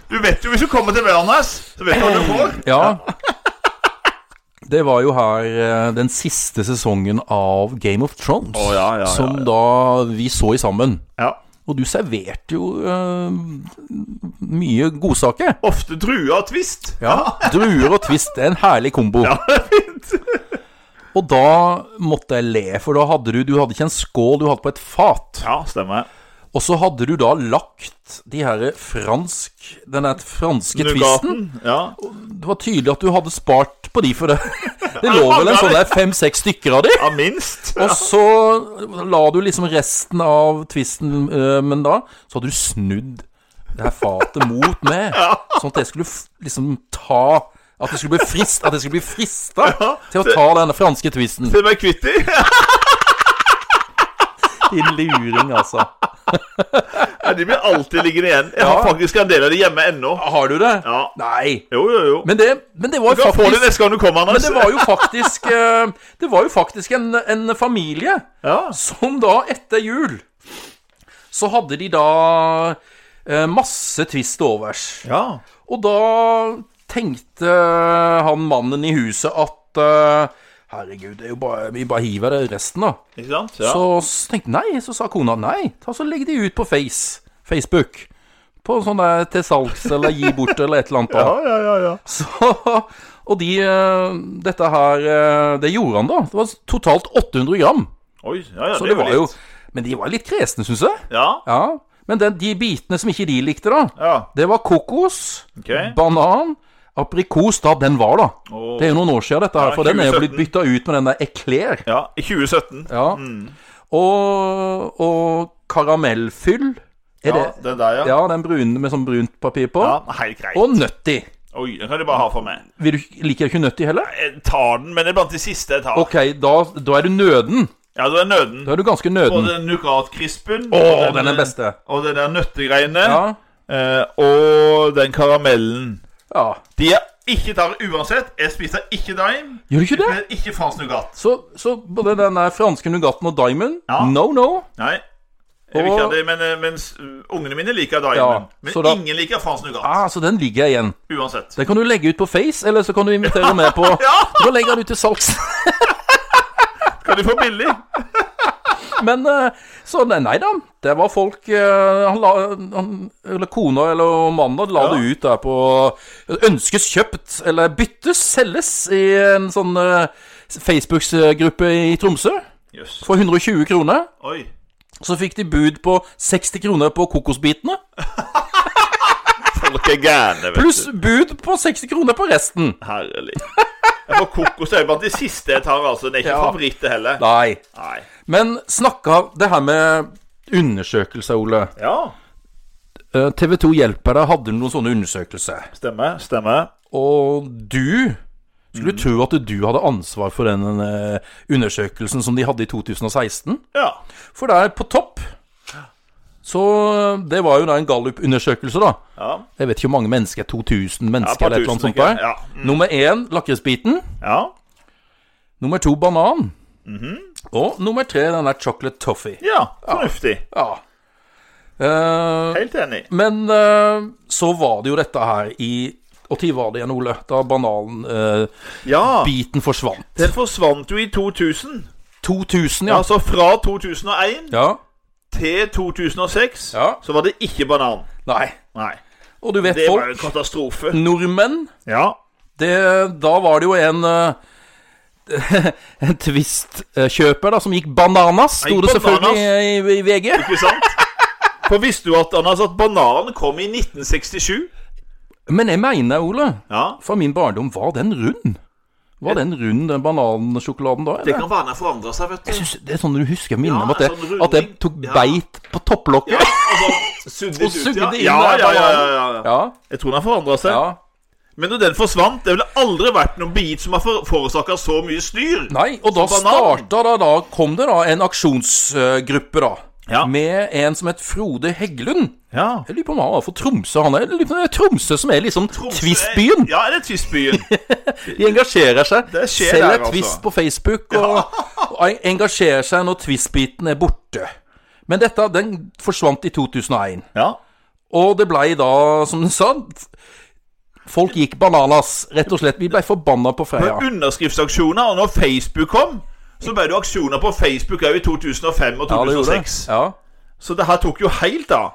[SPEAKER 2] Du vet jo, hvis du kommer til meg, Anders, så vet du hva du får.
[SPEAKER 1] Ja. Det var jo her eh, den siste sesongen av Game of Thrones,
[SPEAKER 2] Å, ja, ja, ja,
[SPEAKER 1] som
[SPEAKER 2] ja.
[SPEAKER 1] da vi så i sammen.
[SPEAKER 2] Ja.
[SPEAKER 1] Og du serverte jo eh, mye godsaker.
[SPEAKER 2] Ofte druer og twist.
[SPEAKER 1] Ja. Druer og twist det er en herlig kombo. og da måtte jeg le, for da hadde du, du hadde ikke en skål, du hadde på et fat.
[SPEAKER 2] Ja, stemmer.
[SPEAKER 1] Og så hadde du da lagt de her fransk, den der franske twisten.
[SPEAKER 2] Nougaten. Ja.
[SPEAKER 1] Det var tydelig at du hadde spart på de, for [LAUGHS] det, det lå vel en sånn der fem-seks stykker av de.
[SPEAKER 2] ja, minst.
[SPEAKER 1] Og så la du liksom resten av twisten, øh, men da så hadde du snudd det her fatet mot meg.
[SPEAKER 2] [LAUGHS]
[SPEAKER 1] Sånn at jeg skulle f- liksom ta At jeg skulle bli frist At jeg skulle bli frista til å ta denne franske twisten.
[SPEAKER 2] [LAUGHS] Det var kvitt i.
[SPEAKER 1] Din luring, altså.
[SPEAKER 2] Ja, de blir alltid liggende igjen. Jeg har
[SPEAKER 1] Ja.
[SPEAKER 2] faktisk en del av de hjemme ennå.
[SPEAKER 1] Har du det?
[SPEAKER 2] Ja.
[SPEAKER 1] Nei.
[SPEAKER 2] Jo, jo, jo.
[SPEAKER 1] Men det, men det var
[SPEAKER 2] Du
[SPEAKER 1] jo
[SPEAKER 2] kan få det
[SPEAKER 1] faktisk
[SPEAKER 2] neste gang du kommer,
[SPEAKER 1] men
[SPEAKER 2] Anders.
[SPEAKER 1] det var jo faktisk øh, Det var jo faktisk en, en familie
[SPEAKER 2] Ja.
[SPEAKER 1] Som da, etter jul, så hadde de da eh, masse twist overs.
[SPEAKER 2] ja.
[SPEAKER 1] Og da tenkte han mannen i huset at eh, Herregud, det er jo bare, vi bare hiver det i resten, da.
[SPEAKER 2] Ikke sant? Ja.
[SPEAKER 1] Så s- tenkte nei, så sa kona nei. Ta så Legg de ut på Face, Facebook. På sånn der til salgs eller gi bort eller et eller annet.
[SPEAKER 2] ja,
[SPEAKER 1] Da.
[SPEAKER 2] ja, ja, ja.
[SPEAKER 1] Så, og de eh, Dette her eh, Det gjorde han, da. Det var totalt 800 gram.
[SPEAKER 2] Oi, ja, ja,
[SPEAKER 1] Så det, var
[SPEAKER 2] litt.
[SPEAKER 1] jo Men de var litt kresne, syns jeg.
[SPEAKER 2] Ja,
[SPEAKER 1] Ja. Men den, de bitene som ikke de likte, da,
[SPEAKER 2] ja,
[SPEAKER 1] det var kokos,
[SPEAKER 2] ok.
[SPEAKER 1] banan, aprikos da den var, da.
[SPEAKER 2] Og,
[SPEAKER 1] Det er jo noen år siden dette her,
[SPEAKER 2] Ja,
[SPEAKER 1] for den er jo
[SPEAKER 2] 2017.
[SPEAKER 1] blitt bytta ut med den der ekler.
[SPEAKER 2] ja, i 2017.
[SPEAKER 1] Ja.
[SPEAKER 2] Mm.
[SPEAKER 1] Og, og karamellfyll. Er
[SPEAKER 2] Ja,
[SPEAKER 1] det
[SPEAKER 2] den der, ja.
[SPEAKER 1] Ja, den brune med sånn brunt papir på.
[SPEAKER 2] Ja, helt greit.
[SPEAKER 1] Og nøtti.
[SPEAKER 2] Oi, den kan du bare ha for meg.
[SPEAKER 1] Vil du, liker du ikke nøtti heller?
[SPEAKER 2] Jeg tar den, men det er blant de siste jeg tar.
[SPEAKER 1] Ok, da, da er du nøden.
[SPEAKER 2] Ja, det er nøden.
[SPEAKER 1] Da er du ganske
[SPEAKER 2] Og
[SPEAKER 1] nøden.
[SPEAKER 2] den nukatkrispen.
[SPEAKER 1] Å,
[SPEAKER 2] og
[SPEAKER 1] den er beste.
[SPEAKER 2] Og den der nøttegreiene.
[SPEAKER 1] Ja.
[SPEAKER 2] Eh, og den karamellen.
[SPEAKER 1] ja.
[SPEAKER 2] De jeg ikke tar uansett. Jeg spiser ikke daim.
[SPEAKER 1] Gjør du ikke det?
[SPEAKER 2] Men ikke fransk nougat.
[SPEAKER 1] Så, så både den der franske nougatten og diamond
[SPEAKER 2] Ja.
[SPEAKER 1] No, no.
[SPEAKER 2] Nei. Jeg vil
[SPEAKER 1] Og-
[SPEAKER 2] ikke ha det, men, eh, mens uh, ungene mine liker daimen.
[SPEAKER 1] Ja,
[SPEAKER 2] men
[SPEAKER 1] så da-
[SPEAKER 2] ingen liker fransk nougat.
[SPEAKER 1] Ah, så den ligger jeg igjen.
[SPEAKER 2] Uansett.
[SPEAKER 1] Den kan du legge ut på Face, eller så kan du
[SPEAKER 2] [LAUGHS]
[SPEAKER 1] invitere med på Du kan legge den ut til salgs. [LAUGHS]
[SPEAKER 2] Kan de få billig?
[SPEAKER 1] Men eh, så nei, nei da, det var folk eh, han la, han, Eller kona eller mannen la
[SPEAKER 2] Ja.
[SPEAKER 1] det ut der på Ønskes kjøpt, eller byttes, selges i en sånn eh, Facebook-gruppe i Tromsø
[SPEAKER 2] Jøss.
[SPEAKER 1] for 120 kroner.
[SPEAKER 2] Oi.
[SPEAKER 1] Så fikk de bud på 60 kroner på kokosbitene,
[SPEAKER 2] Folk er gærne, vet
[SPEAKER 1] pluss bud på 60 kroner på resten.
[SPEAKER 2] Herlig. Jeg får kokos det er blant de siste jeg tar, altså. Det er ikke
[SPEAKER 1] Ja.
[SPEAKER 2] favoritter heller.
[SPEAKER 1] Nei.
[SPEAKER 2] Nei.
[SPEAKER 1] Men snakka det her med undersøkelser, Ole.
[SPEAKER 2] Ja.
[SPEAKER 1] TV 2 hjelper deg, hadde noen sånne undersøkelser.
[SPEAKER 2] Stemmer. Stemmer.
[SPEAKER 1] Og du skulle tro at du hadde ansvar for den eh, undersøkelsen som de hadde i 2016.
[SPEAKER 2] Ja.
[SPEAKER 1] For der på topp Så eh, det var jo da en gallup-undersøkelse, da.
[SPEAKER 2] Ja.
[SPEAKER 1] Jeg vet ikke hvor mange mennesker. 2000 mennesker
[SPEAKER 2] par
[SPEAKER 1] eller et eller annet
[SPEAKER 2] tusen,
[SPEAKER 1] sånt. der.
[SPEAKER 2] tenker jeg. Ja.
[SPEAKER 1] Nummer én lakrisbiten.
[SPEAKER 2] ja.
[SPEAKER 1] Nummer to banan. Og nummer tre den der chocolate toffee.
[SPEAKER 2] Ja. Fornuftig.
[SPEAKER 1] Ja. Eh,
[SPEAKER 2] Helt enig.
[SPEAKER 1] Men eh, så var det jo dette her i Og tid var det igjen, Ole, da bananbiten
[SPEAKER 2] Ja.
[SPEAKER 1] biten forsvant.
[SPEAKER 2] Den forsvant jo i 2000.
[SPEAKER 1] 2000, ja.
[SPEAKER 2] Altså fra 2001
[SPEAKER 1] ja.
[SPEAKER 2] til 2006
[SPEAKER 1] Ja.
[SPEAKER 2] så var det ikke banan.
[SPEAKER 1] Nei.
[SPEAKER 2] Nei.
[SPEAKER 1] Og du vet
[SPEAKER 2] Det var jo en
[SPEAKER 1] folk, Mm.
[SPEAKER 2] katastrofe.
[SPEAKER 1] nordmenn
[SPEAKER 2] Ja.
[SPEAKER 1] det, Da var det jo en eh, [LAUGHS] En Twist-kjøper da som gikk bananas, sto
[SPEAKER 2] gikk
[SPEAKER 1] det
[SPEAKER 2] bananas.
[SPEAKER 1] selvfølgelig i, i VG.
[SPEAKER 2] Ikke sant? For visste du at, Anders, at bananen kom i 1967?
[SPEAKER 1] Men jeg mener, Ole,
[SPEAKER 2] Ja.
[SPEAKER 1] fra min barndom, var den rund? Var den rund, den banansjokoladen da?
[SPEAKER 2] Det
[SPEAKER 1] Eller?
[SPEAKER 2] kan være den har forandra seg, vet
[SPEAKER 1] Jeg
[SPEAKER 2] du.
[SPEAKER 1] synes, det er sånn du husker minnet
[SPEAKER 2] Ja,
[SPEAKER 1] om at det,
[SPEAKER 2] sånn runding.
[SPEAKER 1] at jeg tok
[SPEAKER 2] Ja.
[SPEAKER 1] beit på topplokket.
[SPEAKER 2] Ja, altså, sugde
[SPEAKER 1] Og sugde
[SPEAKER 2] ja.
[SPEAKER 1] inn
[SPEAKER 2] ja,
[SPEAKER 1] der
[SPEAKER 2] ja, ja,
[SPEAKER 1] bananen.
[SPEAKER 2] ja, ja.
[SPEAKER 1] Ja,
[SPEAKER 2] Jeg tror den har forandra seg.
[SPEAKER 1] ja.
[SPEAKER 2] Men når den forsvant Det ville aldri vært noen bit som har for- forårsaka så mye styr.
[SPEAKER 1] Nei, og da
[SPEAKER 2] Som banan.
[SPEAKER 1] starta da, da kom det da en aksjonsgruppe, da.
[SPEAKER 2] Ja.
[SPEAKER 1] Med en som het Frode Heggelund.
[SPEAKER 2] Ja.
[SPEAKER 1] Jeg lurer på om han var fra Tromsø. Han er, jeg lurer på om det er Tromsø som er liksom Twist-byen.
[SPEAKER 2] Ja, det er Tvistbyen.
[SPEAKER 1] De engasjerer seg.
[SPEAKER 2] Det skjer
[SPEAKER 1] Selger
[SPEAKER 2] der, altså.
[SPEAKER 1] Twist på Facebook og, og engasjerer seg når Twist-biten er borte. Men dette, den forsvant i 2001.
[SPEAKER 2] [LAUGHS] Ja.
[SPEAKER 1] Og det blei da, som du sa Folk gikk bananas, rett og slett. Vi blei forbanna på Freia.
[SPEAKER 2] Med underskriftsaksjoner, og når Facebook kom, så ble det jo aksjoner på Facebook òg i 2005 og
[SPEAKER 1] Ja, det gjorde det.
[SPEAKER 2] 2006.
[SPEAKER 1] Ja.
[SPEAKER 2] Så det her tok jo helt av.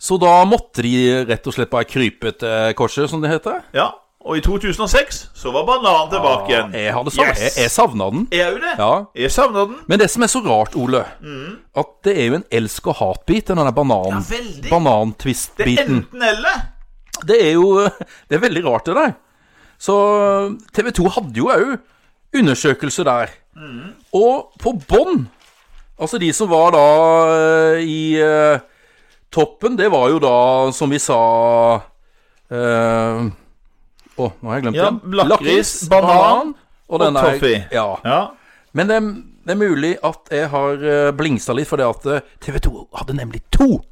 [SPEAKER 1] Så da måtte de rett og slett bare krype til korset, som det heter.
[SPEAKER 2] Ja. Og i 2006 så var bananen tilbake igjen.
[SPEAKER 1] Jeg, hadde savnet,
[SPEAKER 2] Yes.
[SPEAKER 1] jeg, jeg savna den.
[SPEAKER 2] Er jo det.
[SPEAKER 1] Ja.
[SPEAKER 2] Jeg savner den.
[SPEAKER 1] Men det som er så rart, Ole, at det er jo en elsk- og hatbit, den der banan,
[SPEAKER 2] Ja, veldig.
[SPEAKER 1] banantvist-biten.
[SPEAKER 2] Enten-eller.
[SPEAKER 1] Det er jo Det er veldig rart, det der. Så TV 2 hadde jo òg undersøkelse der. Og på bånn Altså, de som var da eh, i eh, toppen, det var jo da, som vi sa eh, Å, nå har jeg glemt
[SPEAKER 2] Ja,
[SPEAKER 1] den.
[SPEAKER 2] lakris, banan
[SPEAKER 1] og den der-
[SPEAKER 2] toffee.
[SPEAKER 1] Ja.
[SPEAKER 2] Ja.
[SPEAKER 1] Men det, det er mulig at jeg har eh, blingsa litt, fordi at eh, TV 2 hadde nemlig to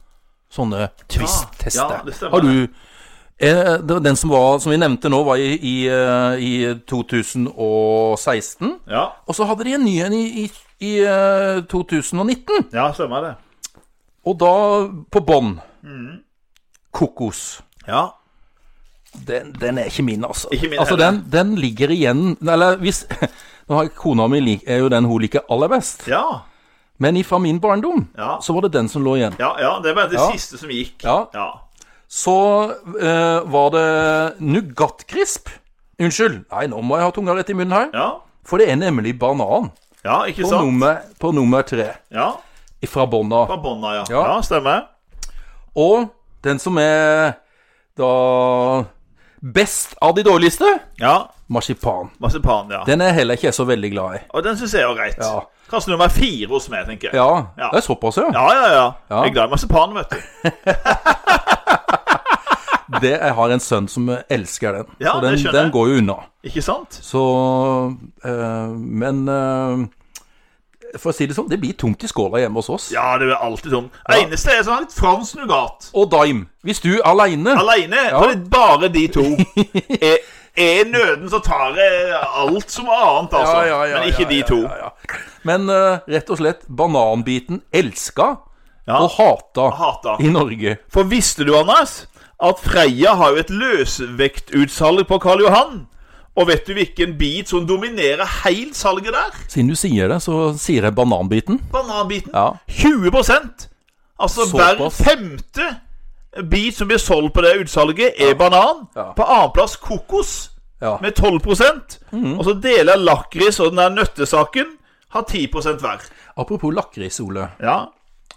[SPEAKER 1] sånne
[SPEAKER 2] ja,
[SPEAKER 1] twist-tester.
[SPEAKER 2] det stemmer.
[SPEAKER 1] har du eh, det var Den som, var, som vi nevnte nå, var i, i, eh, i 2016.
[SPEAKER 2] Ja,
[SPEAKER 1] Og så hadde de en ny en i, i, i eh, 2019.
[SPEAKER 2] ja stemmer det.
[SPEAKER 1] Og da på bånn.
[SPEAKER 2] Mm.
[SPEAKER 1] Kokos.
[SPEAKER 2] Ja.
[SPEAKER 1] Den, den er ikke min, altså.
[SPEAKER 2] Ikke min
[SPEAKER 1] altså
[SPEAKER 2] heller.
[SPEAKER 1] den, den ligger igjen Eller hvis [LAUGHS] Nå har Kona mi lik- er jo den hun liker aller best.
[SPEAKER 2] Ja.
[SPEAKER 1] Men ifra min barndom
[SPEAKER 2] Ja.
[SPEAKER 1] så var det den som lå igjen.
[SPEAKER 2] Ja, ja, det var det
[SPEAKER 1] Ja.
[SPEAKER 2] siste som gikk.
[SPEAKER 1] Ja.
[SPEAKER 2] ja.
[SPEAKER 1] Så eh, var det Nougatkrisp. Unnskyld. Nei, nå må jeg ha tunga rett i munnen her.
[SPEAKER 2] Ja,
[SPEAKER 1] For det er nemlig banan
[SPEAKER 2] ja ikke
[SPEAKER 1] på
[SPEAKER 2] sant?
[SPEAKER 1] nummer, på nummer tre
[SPEAKER 2] Ja,
[SPEAKER 1] fra bånda.
[SPEAKER 2] Fra bånda, ja. ja.
[SPEAKER 1] Ja.
[SPEAKER 2] Stemmer.
[SPEAKER 1] Og den som er da best av de dårligste,
[SPEAKER 2] Ja.
[SPEAKER 1] marsipan.
[SPEAKER 2] Marsipan, ja.
[SPEAKER 1] Den er heller ikke jeg så veldig glad i.
[SPEAKER 2] Og den syns jeg er greit.
[SPEAKER 1] Ja.
[SPEAKER 2] Kanskje nummer fire hos meg, tenker jeg.
[SPEAKER 1] Ja,
[SPEAKER 2] Ja.
[SPEAKER 1] det er såpass, ja.
[SPEAKER 2] ja, ja. ja.
[SPEAKER 1] Ja.
[SPEAKER 2] Jeg er glad i marsipan, vet du.
[SPEAKER 1] Det, jeg har en sønn som elsker den.
[SPEAKER 2] Ja,
[SPEAKER 1] og
[SPEAKER 2] det
[SPEAKER 1] den,
[SPEAKER 2] skjønner jeg.
[SPEAKER 1] den går jo unna.
[SPEAKER 2] Ikke sant?
[SPEAKER 1] Så eh, Men eh, for å si det sånn, det blir tomt i skåla hjemme hos oss.
[SPEAKER 2] Ja, det er alltid sånn. Det eneste er sånn litt fransk nougat.
[SPEAKER 1] Og Dime, hvis du aleine
[SPEAKER 2] Aleine.
[SPEAKER 1] Ja.
[SPEAKER 2] For det er bare de
[SPEAKER 1] [LAUGHS]
[SPEAKER 2] to. er, er nøden, så tar jeg alt som annet, altså. Men ikke de to.
[SPEAKER 1] Ja, ja, ja. Men eh, rett og slett, bananbiten elska
[SPEAKER 2] Ja.
[SPEAKER 1] og hata,
[SPEAKER 2] Hata.
[SPEAKER 1] i Norge.
[SPEAKER 2] For visste du, Anders, at Freia har jo et løsvektutsalg på Karl Johan? Og vet du hvilken bit som dominerer helt salget der?
[SPEAKER 1] Siden du sier det, så sier jeg bananbiten.
[SPEAKER 2] Bananbiten.
[SPEAKER 1] Ja.
[SPEAKER 2] 20 Altså hver
[SPEAKER 1] Såpass.
[SPEAKER 2] femte bit som blir solgt på det utsalget, er banan.
[SPEAKER 1] Ja.
[SPEAKER 2] På annenplass kokos
[SPEAKER 1] Ja. Mhm.
[SPEAKER 2] med 12 Og så deler jeg lakris og den der nøttesaken har 10 hver.
[SPEAKER 1] Apropos lakris, Ole.
[SPEAKER 2] Ja.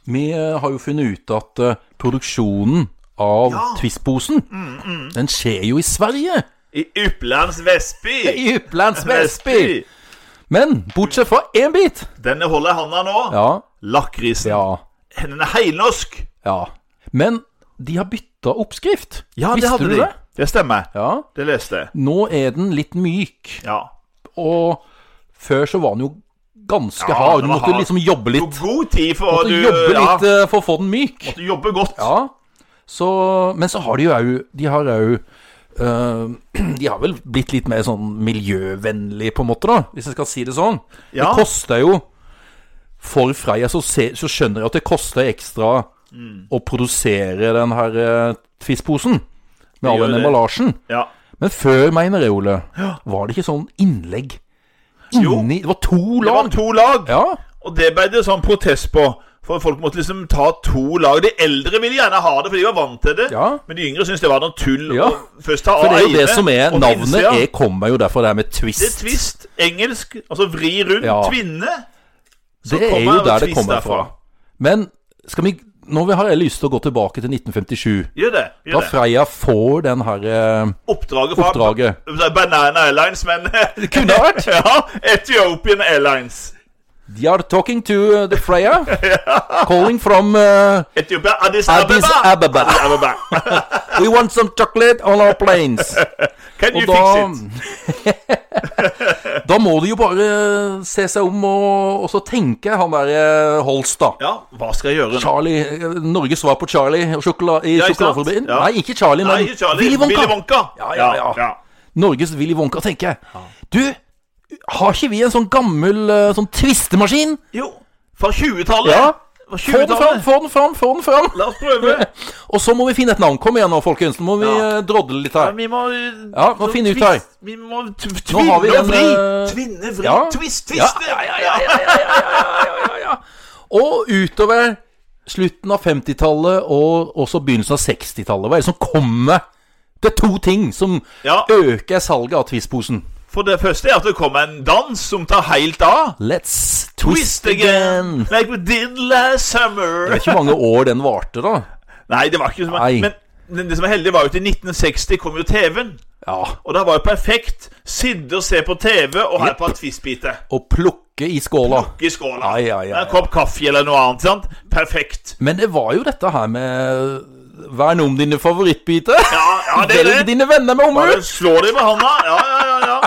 [SPEAKER 1] Vi eh, har jo funnet ut at eh, produksjonen av
[SPEAKER 2] Ja. Mm,
[SPEAKER 1] Twist-posen, den skjer jo i Sverige.
[SPEAKER 2] I Upplands Vestby.
[SPEAKER 1] I Upplands Vestby. Men bortsett fra én bit.
[SPEAKER 2] Denne holder jeg handa nå.
[SPEAKER 1] Ja,
[SPEAKER 2] Lakrisen.
[SPEAKER 1] ja,
[SPEAKER 2] Den er heilnorsk.
[SPEAKER 1] ja. Men de har bytta oppskrift. Visste du det?
[SPEAKER 2] Det stemmer.
[SPEAKER 1] Ja.
[SPEAKER 2] Det leste jeg.
[SPEAKER 1] Nå er den litt myk,
[SPEAKER 2] Ja.
[SPEAKER 1] og før så var den jo ganske
[SPEAKER 2] Ja,
[SPEAKER 1] hard. Du
[SPEAKER 2] den var
[SPEAKER 1] måtte
[SPEAKER 2] hard.
[SPEAKER 1] liksom jobbe
[SPEAKER 2] På
[SPEAKER 1] litt.
[SPEAKER 2] god tid for
[SPEAKER 1] Måtte
[SPEAKER 2] du
[SPEAKER 1] jobbe
[SPEAKER 2] ja,
[SPEAKER 1] litt eh, for å få den myk.
[SPEAKER 2] Du jobber godt. Ja.
[SPEAKER 1] Ja. Så, men så har de jo òg De har òg [CLEARS THROAT] De har vel blitt litt mer sånn miljøvennlig, på en måte, da, hvis jeg skal si det sånn.
[SPEAKER 2] Ja.
[SPEAKER 1] Det koster jo For Freia så, se, så skjønner jeg at det koster ekstra
[SPEAKER 2] Mm.
[SPEAKER 1] å produsere den her uh, Twist-posen. Med all
[SPEAKER 2] gjør
[SPEAKER 1] den
[SPEAKER 2] det.
[SPEAKER 1] emballasjen.
[SPEAKER 2] ja.
[SPEAKER 1] Men før, mener jeg, Ole, var det ikke sånn innlegg
[SPEAKER 2] Jo.
[SPEAKER 1] inni Det var to
[SPEAKER 2] Det var
[SPEAKER 1] lag!
[SPEAKER 2] to lag,
[SPEAKER 1] Ja,
[SPEAKER 2] og det ble det sånn protest på. For folk måtte liksom ta to lag. De eldre ville gjerne ha det, for de var vant til det.
[SPEAKER 1] Ja.
[SPEAKER 2] Men de yngre syntes det var noe tull.
[SPEAKER 1] Ja.
[SPEAKER 2] Og først ta
[SPEAKER 1] for det er jo
[SPEAKER 2] av
[SPEAKER 1] det
[SPEAKER 2] ene,
[SPEAKER 1] som er
[SPEAKER 2] og på
[SPEAKER 1] Navnet
[SPEAKER 2] innsida.
[SPEAKER 1] er, kommer jo derfor det her med
[SPEAKER 2] Det er
[SPEAKER 1] twist.
[SPEAKER 2] twist. Engelsk. Altså vri rundt.
[SPEAKER 1] Ja.
[SPEAKER 2] Tvinne. Så
[SPEAKER 1] Det er
[SPEAKER 2] kommer
[SPEAKER 1] jo
[SPEAKER 2] jo
[SPEAKER 1] der det
[SPEAKER 2] twist
[SPEAKER 1] kommer
[SPEAKER 2] derfra.
[SPEAKER 1] fra. Men skal vi, nå har jeg lyst til å gå tilbake til 1957.
[SPEAKER 2] Gjør det.
[SPEAKER 1] Da
[SPEAKER 2] Gjør det.
[SPEAKER 1] Freia får den her eh,
[SPEAKER 2] Oppdraget fra
[SPEAKER 1] oppdraget.
[SPEAKER 2] Banana Airlines, men Det
[SPEAKER 1] kunne vært.
[SPEAKER 2] [LAUGHS] ja, Ethiopian Airlines.
[SPEAKER 1] They are talking to eh, the
[SPEAKER 2] [LAUGHS]
[SPEAKER 1] Freia. Calling from eh,
[SPEAKER 2] Etiopia, Addis Abeba.
[SPEAKER 1] Addis Ababa.
[SPEAKER 2] Addis
[SPEAKER 1] [LAUGHS]
[SPEAKER 2] Abeba.
[SPEAKER 1] We want some chocolate on our planes.
[SPEAKER 2] Can [LAUGHS]
[SPEAKER 1] Og
[SPEAKER 2] you fix it?
[SPEAKER 1] da [LAUGHS] Da må de jo bare eh, se seg om og, og så tenke, han der eh, Holst, da.
[SPEAKER 2] Ja, hva skal jeg gjøre nå?
[SPEAKER 1] Charlie, eh, Norges svar på Charlie og sjokola i
[SPEAKER 2] Ja, ikke sant?
[SPEAKER 1] sjokoladefabrikken.
[SPEAKER 2] Ja.
[SPEAKER 1] Nei, ikke Charlie,
[SPEAKER 2] Nei,
[SPEAKER 1] men
[SPEAKER 2] ikke Charlie.
[SPEAKER 1] Willy Wonka. Ja,
[SPEAKER 2] Ja, ja,
[SPEAKER 1] ja, ja. Norges Willy Wonka, tenker jeg. Du, har ikke vi en sånn gammel eh, sånn tvistemaskin?
[SPEAKER 2] Jo, fra 20-tallet.
[SPEAKER 1] Ja.
[SPEAKER 2] Fra
[SPEAKER 1] Få den fram,
[SPEAKER 2] 20-tallet.
[SPEAKER 1] få den fram, få den fram! [LAUGHS]
[SPEAKER 2] La oss prøve.
[SPEAKER 1] Og så må vi finne et navn. Kom igjen nå, folkens. Nå må vi
[SPEAKER 2] Ja.
[SPEAKER 1] eh, drodle litt
[SPEAKER 2] Ja,
[SPEAKER 1] her.
[SPEAKER 2] vi må
[SPEAKER 1] Ja, må finne ut her.
[SPEAKER 2] Vi må t-
[SPEAKER 1] Nå
[SPEAKER 2] tvinne
[SPEAKER 1] har
[SPEAKER 2] og
[SPEAKER 1] vi
[SPEAKER 2] vri.
[SPEAKER 1] den, eh,
[SPEAKER 2] Tvinne, vri,
[SPEAKER 1] ja.
[SPEAKER 2] twist,
[SPEAKER 1] Ja,
[SPEAKER 2] twiste.
[SPEAKER 1] ja, ja, ja, ja, ja, ja, ja, ja, ja. Og utover slutten av 50-tallet og også begynnelsen av 60-tallet. Hva er det som kommer? Det er to ting som
[SPEAKER 2] Ja.
[SPEAKER 1] øker salget av Twist-posen.
[SPEAKER 2] For det første er at det kommer en dans som tar helt av.
[SPEAKER 1] Let's
[SPEAKER 2] Twist again, like we did last summer.
[SPEAKER 1] Det er ikke mange år den varte, da.
[SPEAKER 2] Nei, det var ikke så
[SPEAKER 1] Nei.
[SPEAKER 2] Men men det som er heldig, var jo til 1960 kom jo TV-en.
[SPEAKER 1] Ja,
[SPEAKER 2] Og det var jo perfekt. Sidde og se på TV og ha et par twistbiter.
[SPEAKER 1] Å plukke i skåla.
[SPEAKER 2] Ikke i skåla.
[SPEAKER 1] Ai, ai, ai,
[SPEAKER 2] Med En kopp kaffe eller noe annet. sant? Perfekt.
[SPEAKER 1] Men det var jo dette her med Vern om dine favorittbiter.
[SPEAKER 2] Ja, ja det er
[SPEAKER 1] Velg
[SPEAKER 2] det.
[SPEAKER 1] dine venner med omhu.
[SPEAKER 2] Bare slå dem med handa. Ja, ja, ja. ja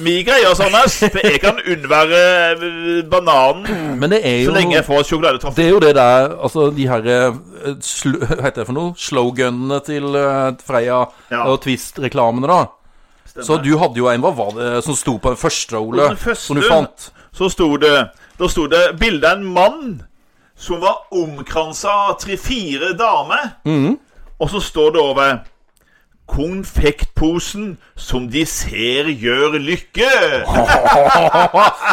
[SPEAKER 2] Mi greier, Sandnes. For jeg kan unnvære eh, bananen
[SPEAKER 1] Men det er
[SPEAKER 2] så
[SPEAKER 1] jo
[SPEAKER 2] lenge jeg får sjokoladetrafikk.
[SPEAKER 1] det er jo det der Altså, de her eh, sl Hva heter det for noe? Sloganene til eh, Freia
[SPEAKER 2] Ja.
[SPEAKER 1] og Twist-reklamene, da. Så du hadde jo en Hva var det som sto på den første, Ole?
[SPEAKER 2] Den første-
[SPEAKER 1] Som du fant?
[SPEAKER 2] Så sto det Da sto det bilde av en mann som var
[SPEAKER 1] Mm.
[SPEAKER 2] omkransa av tre-fire damer. Og så står det over konfektposen som de ser gjør lykke.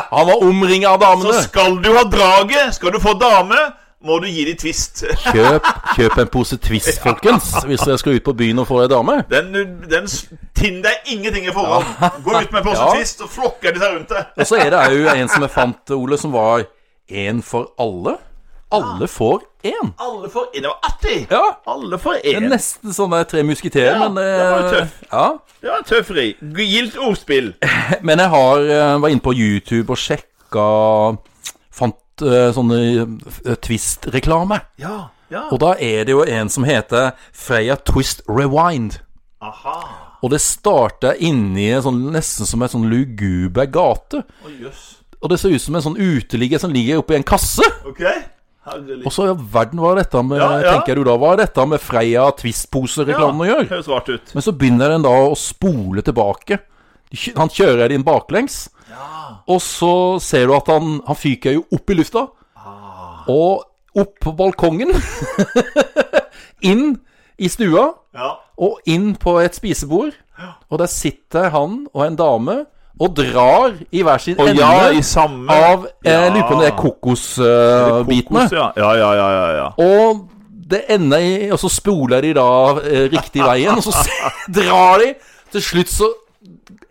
[SPEAKER 1] Han var omringa av
[SPEAKER 2] Så
[SPEAKER 1] damene.
[SPEAKER 2] skal du ha draget, skal du få dame, må du gi de twist.
[SPEAKER 1] Kjøp, kjøp en pose Twist, folkens, hvis dere skal ut på byen og få ei dame.
[SPEAKER 2] Den, den s- tinn deg ingenting i forhold. Gå ut med en pose
[SPEAKER 1] Ja. [LAUGHS]
[SPEAKER 2] twist, og flokker de seg rundt deg.
[SPEAKER 1] Og så er det òg en som jeg fant, Ole, som var én for alle. Alle får én.
[SPEAKER 2] Alle får én. Det var artig.
[SPEAKER 1] Ja.
[SPEAKER 2] Alle får
[SPEAKER 1] Det er
[SPEAKER 2] én.
[SPEAKER 1] nesten sånn der Tre musketerer,
[SPEAKER 2] Ja,
[SPEAKER 1] men eh,
[SPEAKER 2] det var jo tøff.
[SPEAKER 1] Ja.
[SPEAKER 2] Det var en tøff ri. Gildt ordspill.
[SPEAKER 1] Men jeg har, eh, var inne på YouTube og sjekka Fant eh, sånne eh, Twist-reklame.
[SPEAKER 2] Ja. ja.
[SPEAKER 1] Og da er det jo en som heter Freya Twist Rewind.
[SPEAKER 2] Aha.
[SPEAKER 1] Og det starta inni en sånn, nesten som en sånn luguber gate.
[SPEAKER 2] Å, jøs.
[SPEAKER 1] Og det ser ut som en sånn uteligger som ligger oppi en kasse.
[SPEAKER 2] OK. Herlig.
[SPEAKER 1] Og så i all verden var dette med
[SPEAKER 2] Ja, ja.
[SPEAKER 1] tenker du da, hva har dette med Freya Twist-pose-reklamen å gjøre?
[SPEAKER 2] Høres rart ut.
[SPEAKER 1] Men så begynner den da å spole tilbake. De kjø- Han kjører den baklengs. Og så ser du at han, han fyker jo opp i lufta.
[SPEAKER 2] Ah.
[SPEAKER 1] Og opp på balkongen. [LAUGHS] inn i stua.
[SPEAKER 2] Ja.
[SPEAKER 1] Og inn på et spisebord. Og der sitter han og en dame og drar i hver sin
[SPEAKER 2] Og
[SPEAKER 1] ende
[SPEAKER 2] ja, i samme
[SPEAKER 1] av eh, Jeg lurer på om det er
[SPEAKER 2] Ja.
[SPEAKER 1] eh, kokosbitene.
[SPEAKER 2] Kokos, ja. Ja, ja, ja, ja, ja.
[SPEAKER 1] Og det ender i Og så spoler de da eh, riktig veien, og så [LAUGHS] se- drar de. Til slutt så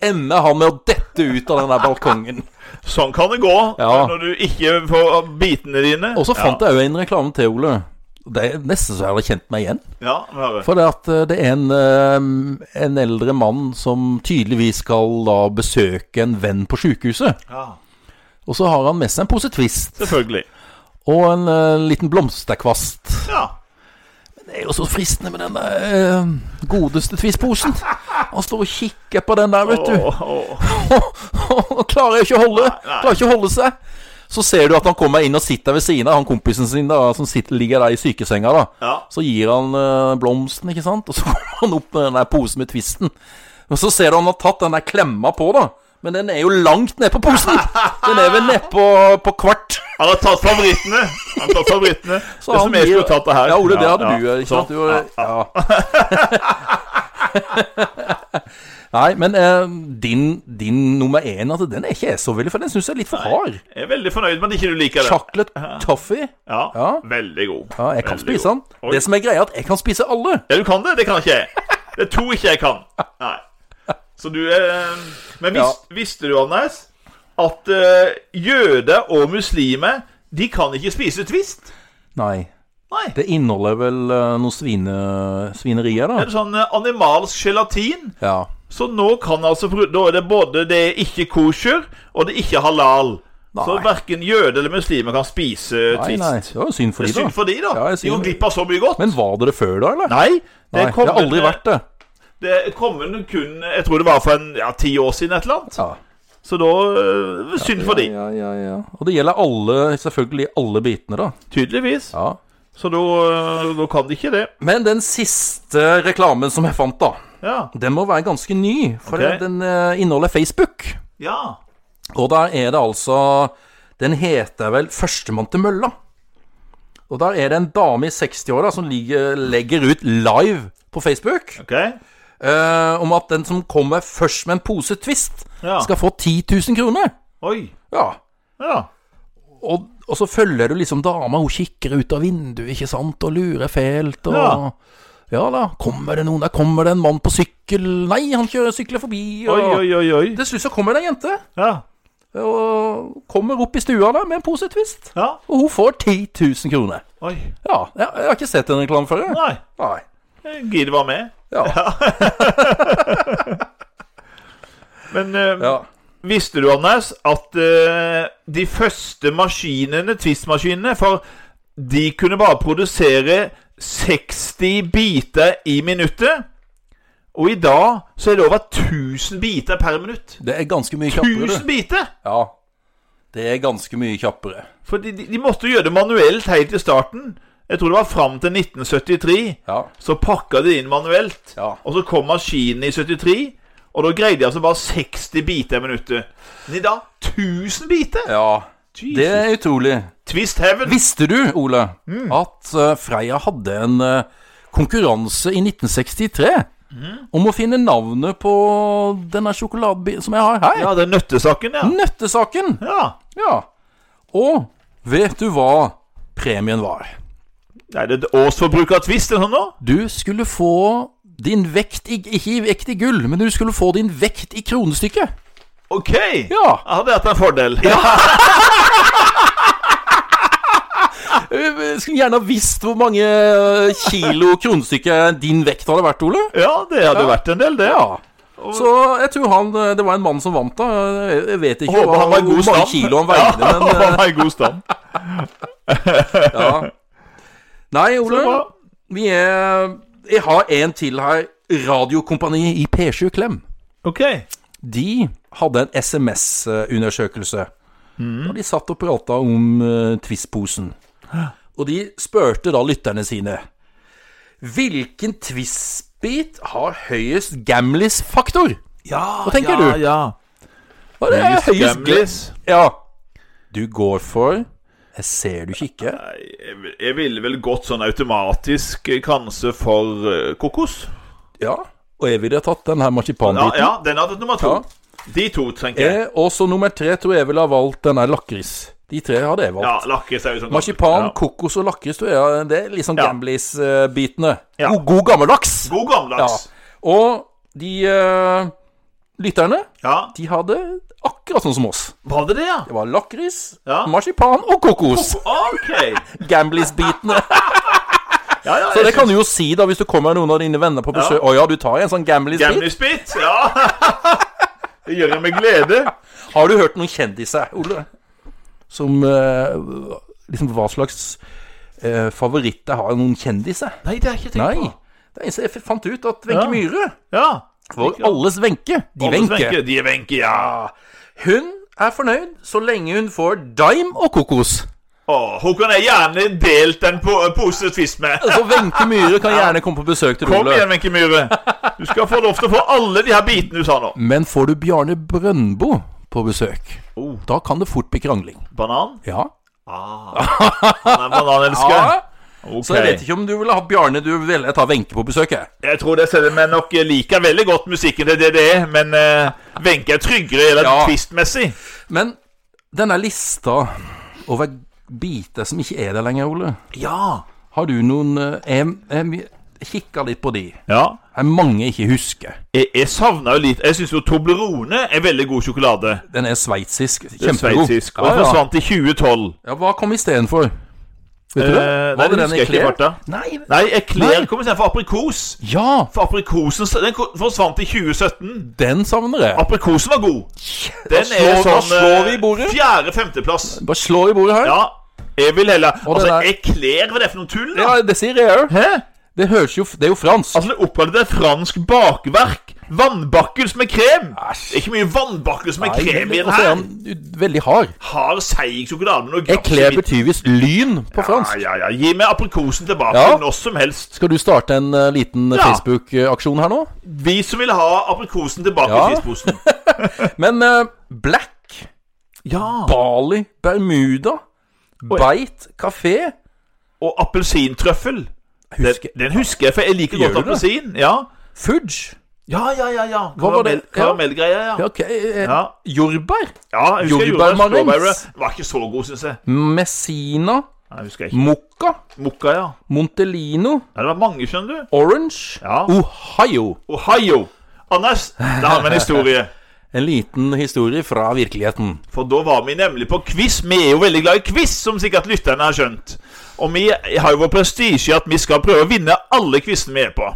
[SPEAKER 1] ender han med å dette ut av den der balkongen.
[SPEAKER 2] Sånn kan det gå
[SPEAKER 1] Ja.
[SPEAKER 2] når du ikke får bitene dine.
[SPEAKER 1] Og så fant jeg òg en reklame til, Ole. Det er nesten så jeg hadde kjent meg igjen.
[SPEAKER 2] Ja, høre.
[SPEAKER 1] For det at eh, det er en, eh, en eldre mann som tydeligvis skal da besøke en venn på sjukehuset.
[SPEAKER 2] Ja,
[SPEAKER 1] Og så har han med seg en pose Twist
[SPEAKER 2] selvfølgelig.
[SPEAKER 1] og en eh, liten blomsterkvast.
[SPEAKER 2] Ja.
[SPEAKER 1] Det er jo så fristende med den der eh, godeste Twist-posen. Han står og kikker på den der, vet du.
[SPEAKER 2] Åh, åh.
[SPEAKER 1] [LAUGHS] Og klarer ikke å holde
[SPEAKER 2] nei.
[SPEAKER 1] Klarer ikke å holde seg. Så ser du at han kommer inn og sitter ved siden av han kompisen sin da som sitter, ligger der i sykesenga. da
[SPEAKER 2] Ja.
[SPEAKER 1] Så gir han eh, blomsten, ikke sant, og så [LAUGHS] kommer han opp med den der posen med Twisten. Og så ser du han har tatt den der klemma på, da. Men den er jo langt ned på
[SPEAKER 2] [LAUGHS]
[SPEAKER 1] posen! Den er vel nedpå på kvart.
[SPEAKER 2] Han har tatt favorittene. Han har tatt favorittene.
[SPEAKER 1] [LAUGHS] Så
[SPEAKER 2] det
[SPEAKER 1] han
[SPEAKER 2] som jeg
[SPEAKER 1] gir-
[SPEAKER 2] skulle tatt det her.
[SPEAKER 1] Ja, Ole, det hadde du. Ikke
[SPEAKER 2] Sånn.
[SPEAKER 1] sant? Du, var- ja. [LAUGHS] Nei, men eh, din, din nummer én, altså, den er ikke jeg så veldig for den syns jeg er litt for hard.
[SPEAKER 2] Jeg er veldig fornøyd med at ikke du liker det.
[SPEAKER 1] Chocolate toffee.
[SPEAKER 2] Ja,
[SPEAKER 1] Ja.
[SPEAKER 2] Veldig god.
[SPEAKER 1] Ja, jeg kan
[SPEAKER 2] Veldig
[SPEAKER 1] spise
[SPEAKER 2] god.
[SPEAKER 1] den. Det som er greia, er at jeg kan spise alle.
[SPEAKER 2] Ja, du kan det. Det kan ikke jeg. Det er to ikke jeg kan. Nei. Så du eh, Men vis, visste du, Anders, at eh, jøder og muslimer de kan ikke spise twist?
[SPEAKER 1] Nei.
[SPEAKER 2] Nei.
[SPEAKER 1] Det inneholder vel eh, noen svine, svinerier,
[SPEAKER 2] Det
[SPEAKER 1] da.
[SPEAKER 2] er sånn eh, animalsk gelatin.
[SPEAKER 1] Ja.
[SPEAKER 2] Så nå kan altså bru- Da er det både det er ikke kosher, og det er ikke halal. Så
[SPEAKER 1] Nei.
[SPEAKER 2] verken jøder eller muslimer kan spise
[SPEAKER 1] Nei,
[SPEAKER 2] twist.
[SPEAKER 1] nei. Det var jo synd for
[SPEAKER 2] Det
[SPEAKER 1] de,
[SPEAKER 2] er synd
[SPEAKER 1] da.
[SPEAKER 2] for de, da.
[SPEAKER 1] Ja, jeg
[SPEAKER 2] de går
[SPEAKER 1] sier-
[SPEAKER 2] glipp av så mye godt.
[SPEAKER 1] Men var dere før da, eller?
[SPEAKER 2] Nei. Det
[SPEAKER 1] Nei, det har aldri
[SPEAKER 2] kommet-
[SPEAKER 1] vært det.
[SPEAKER 2] Det kom vel kun Jeg tror det var for en, ja, ti år siden, et eller annet.
[SPEAKER 1] Ja.
[SPEAKER 2] Så da øh, Synd for de.
[SPEAKER 1] Ja, ja, ja. Og det gjelder alle, selvfølgelig alle bitene, da.
[SPEAKER 2] Tydeligvis.
[SPEAKER 1] Ja.
[SPEAKER 2] Så da, øh, da kan de ikke det.
[SPEAKER 1] Men den siste reklamen som jeg fant, da,
[SPEAKER 2] Ja.
[SPEAKER 1] den må være ganske ny. For
[SPEAKER 2] Ok.
[SPEAKER 1] det- den eh, inneholder Facebook.
[SPEAKER 2] ja.
[SPEAKER 1] Og der er det altså Den heter vel 'Førstemann til mølla'. Og der er det en dame i 60-åra som ligger, legger ut live på Facebook
[SPEAKER 2] OK.
[SPEAKER 1] eh, om at den som kommer først med en pose Twist,
[SPEAKER 2] Ja.
[SPEAKER 1] skal få 10 000 kroner.
[SPEAKER 2] Oi.
[SPEAKER 1] Ja.
[SPEAKER 2] Ja.
[SPEAKER 1] Og, og så følger du liksom dama, hun kikker ut av vinduet, ikke sant, og lurer fælt, og ja.
[SPEAKER 2] Ja.
[SPEAKER 1] da, kommer det noen, der kommer det en mann på sykkel, nei, han kjører sykler forbi, og
[SPEAKER 2] Oi, oi, oi. oi.
[SPEAKER 1] til slutt så kommer det ei jente,
[SPEAKER 2] Ja.
[SPEAKER 1] og kommer opp i stua da, med en pose twist,
[SPEAKER 2] ja.
[SPEAKER 1] og hun får 10 000 kroner.
[SPEAKER 2] Oi.
[SPEAKER 1] Ja, jeg, jeg har ikke sett en reklame før, jeg.
[SPEAKER 2] Nei.
[SPEAKER 1] Nei.
[SPEAKER 2] jeg Gidder være med.
[SPEAKER 1] Ja,
[SPEAKER 2] Men øh,
[SPEAKER 1] ja.
[SPEAKER 2] visste du, Anders, at øh, de første maskinene, Twist-maskinene, for de kunne bare produsere 60 biter i minuttet. Og i dag så er det over 1000 biter per minutt.
[SPEAKER 1] Det er ganske mye kjappere,
[SPEAKER 2] 1000
[SPEAKER 1] du.
[SPEAKER 2] biter!
[SPEAKER 1] Ja, det er ganske mye kjappere.
[SPEAKER 2] For de, de, de måtte gjøre det manuelt helt i starten. Jeg tror det var fram til 1973.
[SPEAKER 1] Ja,
[SPEAKER 2] Så pakka de det inn manuelt.
[SPEAKER 1] Ja.
[SPEAKER 2] Og så kom maskinen i 73. Og da greide de altså bare 60 biter i minuttet. Men i dag 1000 biter!
[SPEAKER 1] ja.
[SPEAKER 2] Jesus.
[SPEAKER 1] Det er utrolig.
[SPEAKER 2] Twist heaven.
[SPEAKER 1] Visste du, Mm. Ole, at eh, Freia hadde en eh, konkurranse i 1963 om å finne navnet på denne sjokoladebiten som jeg har her.
[SPEAKER 2] Ja, den nøttesaken, ja.
[SPEAKER 1] Nøttesaken!
[SPEAKER 2] ja.
[SPEAKER 1] Ja. Og vet du hva premien var?
[SPEAKER 2] Er det et årsforbruk av Twist eller noe sånt nå?
[SPEAKER 1] Du skulle få din vekt i Ikke i vekt i gull, men du skulle få din vekt i kronestykket.
[SPEAKER 2] Ok! Ja.
[SPEAKER 1] Ja.
[SPEAKER 2] Jeg hadde hatt en fordel.
[SPEAKER 1] Jeg Eh, skulle gjerne ha visst hvor mange eh, kilo kronestykke din vekt hadde vært, Ole.
[SPEAKER 2] Ja, det hadde vært en del, det. ja
[SPEAKER 1] Ja. Så jeg tror han eh, Det var en mann som vant, da. Jeg- Jeg vet ikke
[SPEAKER 2] Håper
[SPEAKER 1] hva,
[SPEAKER 2] han var i
[SPEAKER 1] hvor
[SPEAKER 2] god
[SPEAKER 1] mange
[SPEAKER 2] stand.
[SPEAKER 1] kilo han veide,
[SPEAKER 2] ja, [LAUGHS]
[SPEAKER 1] men
[SPEAKER 2] han var i god stand.
[SPEAKER 1] eh, ja. Nei, Ole.
[SPEAKER 2] Så bra.
[SPEAKER 1] Vi er Jeg har en til her. Radiokompaniet i P7 Klem.
[SPEAKER 2] Ok.
[SPEAKER 1] De hadde en SMS-undersøkelse.
[SPEAKER 2] Mm.
[SPEAKER 1] Da de satt og prata om uh,
[SPEAKER 2] [GASPS]
[SPEAKER 1] Twist-posen. Og de spurte da lytterne sine Hvilken Twist-bit har høyest Gamlis-faktor?
[SPEAKER 2] Ja,
[SPEAKER 1] Hva tenker
[SPEAKER 2] ja,
[SPEAKER 1] du?
[SPEAKER 2] Ja.
[SPEAKER 1] Hva
[SPEAKER 2] Eh,
[SPEAKER 1] er det høyest Gamlis?
[SPEAKER 2] Gamlis.
[SPEAKER 1] Ja. Du går for Jeg ser du ikke ikke.
[SPEAKER 2] Nei, Jeg, jeg ville vel gått sånn automatisk eh, kanskje for eh, kokos.
[SPEAKER 1] Ja. Og jeg ville tatt den her
[SPEAKER 2] Ja,
[SPEAKER 1] marsipanbiten.
[SPEAKER 2] ja, den hadde nummer to.
[SPEAKER 1] Ja.
[SPEAKER 2] De to, tenker jeg.
[SPEAKER 1] Eh, Og så nummer tre tror jeg ville ha valgt den her lakris. De tre hadde jeg valgt.
[SPEAKER 2] Ja, lakris er jo sånn
[SPEAKER 1] Marsipan,
[SPEAKER 2] Ja.
[SPEAKER 1] kokos og lakris, tror jeg. Det er litt sånn
[SPEAKER 2] Ja.
[SPEAKER 1] Gamblis-bitene.
[SPEAKER 2] Ja.
[SPEAKER 1] God, god gammeldags!
[SPEAKER 2] God gammeldags.
[SPEAKER 1] Og de eh, lytterne,
[SPEAKER 2] Ja.
[SPEAKER 1] de hadde akkurat sånn som oss.
[SPEAKER 2] Var det det, ja?
[SPEAKER 1] Det var lakris,
[SPEAKER 2] Ja.
[SPEAKER 1] marsipan og kokos.
[SPEAKER 2] [LAUGHS] Ok.
[SPEAKER 1] Gamblis-bitene.
[SPEAKER 2] Ja, ja,
[SPEAKER 1] Så det kan du jo si da hvis du kommer med noen av dine venner på besøk. Å ja, du tar en sånn Gamblis-bit?
[SPEAKER 2] Gamlisbit, ja. [LAUGHS] Det gjør jeg med glede.
[SPEAKER 1] Har du hørt noen kjendiser, Ole, som eh, Liksom hva slags eh, favoritter har noen kjendiser?
[SPEAKER 2] Nei, det har jeg ikke
[SPEAKER 1] Nei. Det er en som jeg fant ut at Wenche
[SPEAKER 2] Ja.
[SPEAKER 1] Myhre
[SPEAKER 2] Ja.
[SPEAKER 1] For alles Wenche. De
[SPEAKER 2] Anders
[SPEAKER 1] Wenche.
[SPEAKER 2] De Wenche, ja.
[SPEAKER 1] Hun er fornøyd så lenge hun får dime og kokos.
[SPEAKER 2] Åh, hun kan jeg gjerne delt en po pose twist med.
[SPEAKER 1] [LAUGHS] Så Wenche Myhre kan gjerne komme på besøk til
[SPEAKER 2] Kom igjen,
[SPEAKER 1] Ole.
[SPEAKER 2] Wenche Myhre. Du skal få lov til å få alle de her bitene du sa nå.
[SPEAKER 1] Men får du Bjarne Brøndbo på besøk,
[SPEAKER 2] Oh.
[SPEAKER 1] da kan det fort bli krangling.
[SPEAKER 2] Banan? Ah.
[SPEAKER 1] Ja.
[SPEAKER 2] Han er bananelsker.
[SPEAKER 1] ja. Så jeg vet ikke om du ville hatt Bjarne. Du ville ta Wenche på besøk, jeg.
[SPEAKER 2] Jeg tror det selger meg nok liker veldig godt musikken til DDE, men eh, Wenche er tryggere eller
[SPEAKER 1] Ja.
[SPEAKER 2] twistmessig.
[SPEAKER 1] Men denne lista over biter som ikke er der lenger, Ole
[SPEAKER 2] Ja.
[SPEAKER 1] Har du noen eh, Jeg, jeg kikka litt på de.
[SPEAKER 2] ja.
[SPEAKER 1] Det er mange jeg ikke husker.
[SPEAKER 2] Jeg, jeg savner jo litt Jeg syns jo Toblerone er veldig god sjokolade.
[SPEAKER 1] Den er sveitsisk.
[SPEAKER 2] Det er
[SPEAKER 1] Kjempegod.
[SPEAKER 2] Sveitsisk. Og forsvant i 2012.
[SPEAKER 1] Ja, hva kom istedenfor? Vet du det?
[SPEAKER 2] Eh,
[SPEAKER 1] Var
[SPEAKER 2] nei, det
[SPEAKER 1] det den
[SPEAKER 2] husker jeg ikke i
[SPEAKER 1] Eclair?
[SPEAKER 2] farta.
[SPEAKER 1] Nei,
[SPEAKER 2] Nei, Eclair
[SPEAKER 1] Nei.
[SPEAKER 2] kom istedenfor aprikos.
[SPEAKER 1] ja!
[SPEAKER 2] For aprikosen den ko- forsvant i 2017.
[SPEAKER 1] Den savner jeg.
[SPEAKER 2] Aprikosen var god.
[SPEAKER 1] Da
[SPEAKER 2] Ah, Den er
[SPEAKER 1] slår- da
[SPEAKER 2] sånn
[SPEAKER 1] slår vi i bordet.
[SPEAKER 2] fjerde-femteplass.
[SPEAKER 1] Bare slå i bordet her.
[SPEAKER 2] Ja. Jeg vil heller
[SPEAKER 1] Og
[SPEAKER 2] Altså,
[SPEAKER 1] den er-
[SPEAKER 2] Eclair, hva er det for noe tull, da?
[SPEAKER 1] Ja, det sier jeg òg.
[SPEAKER 2] Hæ?
[SPEAKER 1] Det høres jo f- Det er jo fransk.
[SPEAKER 2] Altså, det er oppkalt etter fransk bakverk. Vannbakkels med krem.
[SPEAKER 1] Æsj. altså,
[SPEAKER 2] Det er ikke mye vannbakkels med krem i den
[SPEAKER 1] Og så er
[SPEAKER 2] her.
[SPEAKER 1] han u- veldig hard.
[SPEAKER 2] Hard, seig sjokolade med noe grams i
[SPEAKER 1] Eclair
[SPEAKER 2] midten.
[SPEAKER 1] betyr visst lyn på fransk.
[SPEAKER 2] Ja, ja, ja. Gi meg aprikosen tilbake
[SPEAKER 1] Ja.
[SPEAKER 2] når som helst.
[SPEAKER 1] Skal du starte en eh, liten eh,
[SPEAKER 2] Ja.
[SPEAKER 1] Facebook-aksjon her nå?
[SPEAKER 2] Vi som vil ha aprikosen tilbake
[SPEAKER 1] Ja. [LAUGHS]
[SPEAKER 2] i tidsposen.
[SPEAKER 1] Men eh, Black,
[SPEAKER 2] ja.
[SPEAKER 1] Bali, Bermuda, Beit, kafé
[SPEAKER 2] Og appelsintrøffel. Den,
[SPEAKER 1] Husker-
[SPEAKER 2] den husker jeg, for jeg liker
[SPEAKER 1] Gjør
[SPEAKER 2] godt
[SPEAKER 1] du det?
[SPEAKER 2] appelsin. Ja.
[SPEAKER 1] Fudge.
[SPEAKER 2] ja, ja, ja. ja.
[SPEAKER 1] var det?
[SPEAKER 2] Karamell, karamellgreier, ja.
[SPEAKER 1] Ja, ok. eh,
[SPEAKER 2] Ja.
[SPEAKER 1] Jordbær.
[SPEAKER 2] ja. Jeg husker jeg gjorde det.
[SPEAKER 1] Jordbærmarengs.
[SPEAKER 2] Strawberry var ikke så god, syns jeg.
[SPEAKER 1] Messina.
[SPEAKER 2] Nei, jeg husker jeg ikke.
[SPEAKER 1] Mokka.
[SPEAKER 2] Mokka, ja.
[SPEAKER 1] Montelino.
[SPEAKER 2] ja. Det var mange, skjønner du.
[SPEAKER 1] Orange,
[SPEAKER 2] Ja.
[SPEAKER 1] Ohio.
[SPEAKER 2] Ohio. Anders, da
[SPEAKER 1] [LAUGHS]
[SPEAKER 2] har vi en historie.
[SPEAKER 1] En liten historie fra virkeligheten.
[SPEAKER 2] For da var vi nemlig på quiz. Vi er jo veldig glad i quiz, som sikkert lytterne har skjønt. Og vi har jo vår prestisje i at vi skal prøve å vinne alle quizene vi er på.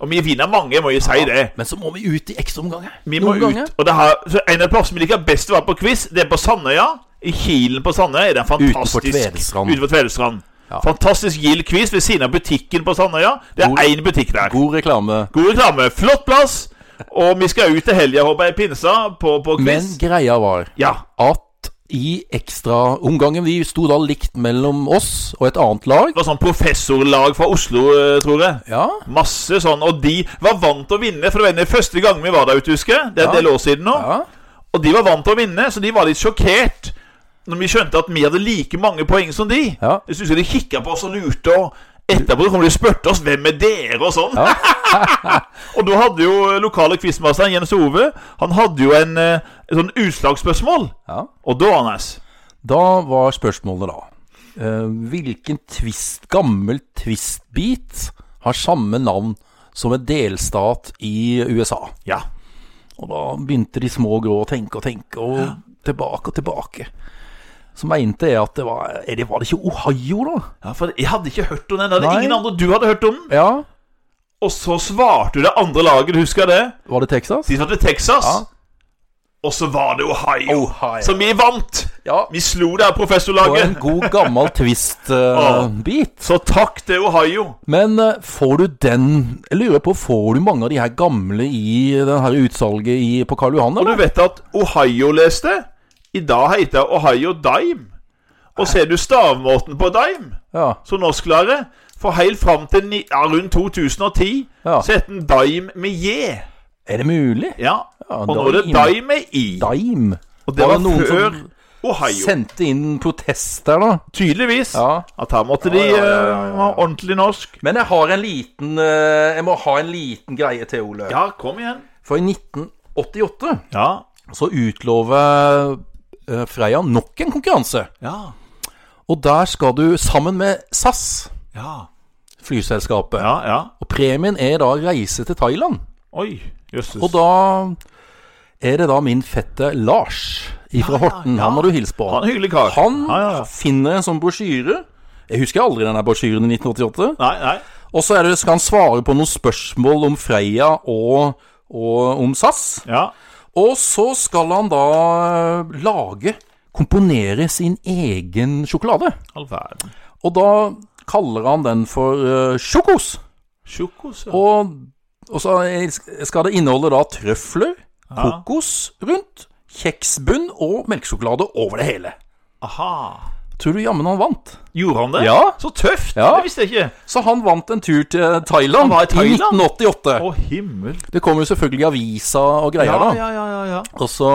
[SPEAKER 2] Og vi vinner mange, må jeg si det.
[SPEAKER 1] Men så må vi ut i ekstraomganger.
[SPEAKER 2] Vi må ut. Og det har, så en av plassene vi liker best å være på quiz, det er på Sandøya. I Kilen på Sandøya er det en fantastisk
[SPEAKER 1] Utenfor Tvedestrand.
[SPEAKER 2] utenfor Tvedestrand.
[SPEAKER 1] Ja.
[SPEAKER 2] Fantastisk gild quiz ved siden av butikken på Sandøya. Det er
[SPEAKER 1] God-
[SPEAKER 2] én butikk der.
[SPEAKER 1] God reklame.
[SPEAKER 2] God reklame. Flott plass. Og vi skal ut til helga, håper jeg, pinsa, på, på
[SPEAKER 1] Men
[SPEAKER 2] quiz.
[SPEAKER 1] greia var
[SPEAKER 2] Ja.
[SPEAKER 1] at i ekstraomgangen Vi sto da likt mellom oss og et annet lag.
[SPEAKER 2] Det var sånn professorlag fra Oslo, eh, tror jeg.
[SPEAKER 1] Ja.
[SPEAKER 2] Masse sånn. Og de var vant til å vinne, for det var den første gangen vi var der ute, husker jeg. Det er en
[SPEAKER 1] Ja.
[SPEAKER 2] del år siden nå.
[SPEAKER 1] ja.
[SPEAKER 2] Og de var vant til å vinne, så de var litt sjokkert når vi skjønte at vi hadde like mange poeng som de.
[SPEAKER 1] Ja.
[SPEAKER 2] Jeg synes de kikka på oss og lurte og Etterpå så kom de og spurte oss hvem er dere og sånn. [LAUGHS] og da hadde jo lokale quizmasteren Jens Ove Han hadde jo en, eh, et sånn utslagsspørsmål.
[SPEAKER 1] Ja.
[SPEAKER 2] Og da, Anders
[SPEAKER 1] Da var spørsmålet da eh, Hvilken twist, gammel twistbit har samme navn som en delstat i USA?
[SPEAKER 2] Ja.
[SPEAKER 1] Og da begynte de små grå å tenke og tenke, og tilbake og tilbake. Så mente jeg at det var er det, Var det ikke Ohio, da?
[SPEAKER 2] ja for jeg hadde ikke hørt om den. Det hadde
[SPEAKER 1] Nei.
[SPEAKER 2] ingen andre du hadde hørt om den.
[SPEAKER 1] Ja.
[SPEAKER 2] Og så svarte du det andre laget, du husker det?
[SPEAKER 1] Var det Texas?
[SPEAKER 2] De svarte Texas.
[SPEAKER 1] Ja.
[SPEAKER 2] Og så var det Ohio,
[SPEAKER 1] Ohio.
[SPEAKER 2] som vi vant.
[SPEAKER 1] Ja.
[SPEAKER 2] Vi slo det her
[SPEAKER 1] Og en
[SPEAKER 2] professorlaget.
[SPEAKER 1] god gammel [LAUGHS] twist-bit.
[SPEAKER 2] Så takk til Ohio.
[SPEAKER 1] Men eh, får du den Jeg lurer på, får du mange av de her gamle i den her utsalget i, på Karl Johan,
[SPEAKER 2] Og
[SPEAKER 1] eller?
[SPEAKER 2] du vet at Ohio leste I dag heter Ohio Dime Og ser du stavmåten på Dime
[SPEAKER 1] Ja.
[SPEAKER 2] Så norsklare For helt frem til ni, ja, rundt 2010
[SPEAKER 1] Ja.
[SPEAKER 2] Så heter den Dime med J
[SPEAKER 1] Er det mulig?
[SPEAKER 2] Ja, og nå er det
[SPEAKER 1] Dime.
[SPEAKER 2] Dime med I
[SPEAKER 1] Dime.
[SPEAKER 2] Og det var,
[SPEAKER 1] noen
[SPEAKER 2] før
[SPEAKER 1] som
[SPEAKER 2] Ohio
[SPEAKER 1] sendte inn protester, da.
[SPEAKER 2] Tydeligvis
[SPEAKER 1] Ja.
[SPEAKER 2] At her måtte de
[SPEAKER 1] ja, ja, ja,
[SPEAKER 2] eh, ha ordentlig norsk
[SPEAKER 1] Men jeg har en liten eh, Jeg må ha en liten greie til, Ole.
[SPEAKER 2] Ja, kom igjen
[SPEAKER 1] For i 1988
[SPEAKER 2] Ja,
[SPEAKER 1] så utlover eh, Freia nok en konkurranse.
[SPEAKER 2] ja,
[SPEAKER 1] Og der skal du sammen med SAS,
[SPEAKER 2] ja
[SPEAKER 1] flyselskapet.
[SPEAKER 2] Ja, ja
[SPEAKER 1] Og premien er da reise til Thailand.
[SPEAKER 2] Oi, jøsses
[SPEAKER 1] Og da er det da min fetter Lars ifra Horten.
[SPEAKER 2] ja.
[SPEAKER 1] Han har du hilst på.
[SPEAKER 2] Han er en hyggelig kar
[SPEAKER 1] Han
[SPEAKER 2] ja, ja, ja.
[SPEAKER 1] finner en sånn brosjyre. Jeg husker aldri denne brosjyren i 1988.
[SPEAKER 2] Nei, nei
[SPEAKER 1] Og så er det, skal han svare på noen spørsmål om Freia og, og om SAS.
[SPEAKER 2] Ja,
[SPEAKER 1] Og så skal han da eh, lage, komponere sin egen sjokolade.
[SPEAKER 2] all verden
[SPEAKER 1] Og da kaller han den for eh, sjokos.
[SPEAKER 2] Sjokos, ja
[SPEAKER 1] Og, og så er- skal det inneholde da trøfler, kokos rundt, kjeksbunn og melkesjokolade over det hele.
[SPEAKER 2] Aha.
[SPEAKER 1] Tror du jammen han vant?
[SPEAKER 2] Gjorde han det?
[SPEAKER 1] Ja.
[SPEAKER 2] Så tøft!
[SPEAKER 1] Ja.
[SPEAKER 2] Det visste jeg ikke.
[SPEAKER 1] Så han vant en tur til Thailand,
[SPEAKER 2] var i Thailand?
[SPEAKER 1] i 1988.
[SPEAKER 2] Å, himmel.
[SPEAKER 1] Det kom jo selvfølgelig aviser og greier, da.
[SPEAKER 2] ja, ja, ja, ja.
[SPEAKER 1] Og så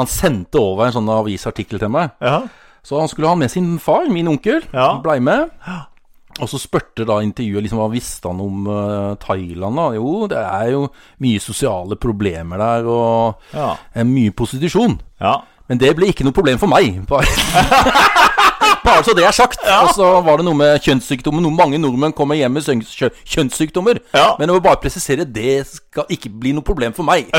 [SPEAKER 1] Han sendte over en sånn avisartikkel til meg.
[SPEAKER 2] Ja,
[SPEAKER 1] Så han skulle ha med sin far, min onkel.
[SPEAKER 2] Ja.
[SPEAKER 1] Han blei med. Og så spurte da intervjuet liksom, hva visste han om eh, Thailand. da? Jo, det er jo mye sosiale problemer der, og
[SPEAKER 2] ja.
[SPEAKER 1] eh, mye prostitusjon.
[SPEAKER 2] ja.
[SPEAKER 1] Men det ble ikke noe problem for meg. Bare, [LAUGHS] Bare så det er sagt. Og så var det noe med kjønnssykdommer. Noe- Mange nordmenn kommer hjem med sø- kjø- kjønnssykdommer.
[SPEAKER 2] Ja.
[SPEAKER 1] Men jeg må bare presisere, det skal ikke bli noe problem for
[SPEAKER 2] [LAUGHS]
[SPEAKER 1] meg.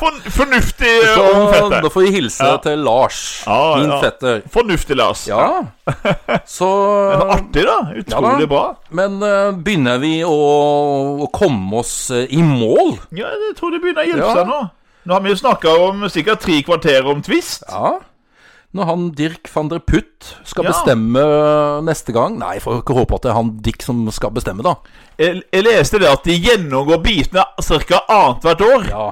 [SPEAKER 2] Forn fornuftig eh, ung
[SPEAKER 1] Så da
[SPEAKER 2] fetter.
[SPEAKER 1] får vi hilse
[SPEAKER 2] Ja.
[SPEAKER 1] til Lars,
[SPEAKER 2] Ja,
[SPEAKER 1] min
[SPEAKER 2] ja.
[SPEAKER 1] fetter.
[SPEAKER 2] Fornuftig, Lars.
[SPEAKER 1] Ja. [LAUGHS] Så
[SPEAKER 2] Artig, da. Utrolig
[SPEAKER 1] Ja da.
[SPEAKER 2] bra.
[SPEAKER 1] Men eh, begynner vi å, å komme oss eh, i mål?
[SPEAKER 2] Ja, jeg tror det begynner å hjelpe
[SPEAKER 1] Ja.
[SPEAKER 2] seg nå. Nå har vi jo snakka om sikkert tre kvarter om Twist.
[SPEAKER 1] Ja. Når han Dirk van der Putt skal
[SPEAKER 2] Ja.
[SPEAKER 1] bestemme neste gang Nei, får jo ikke håpe at det er han Dick som skal bestemme, da.
[SPEAKER 2] Jeg, jeg leste det at de gjennomgår bitene ca. annethvert år.
[SPEAKER 1] Ja.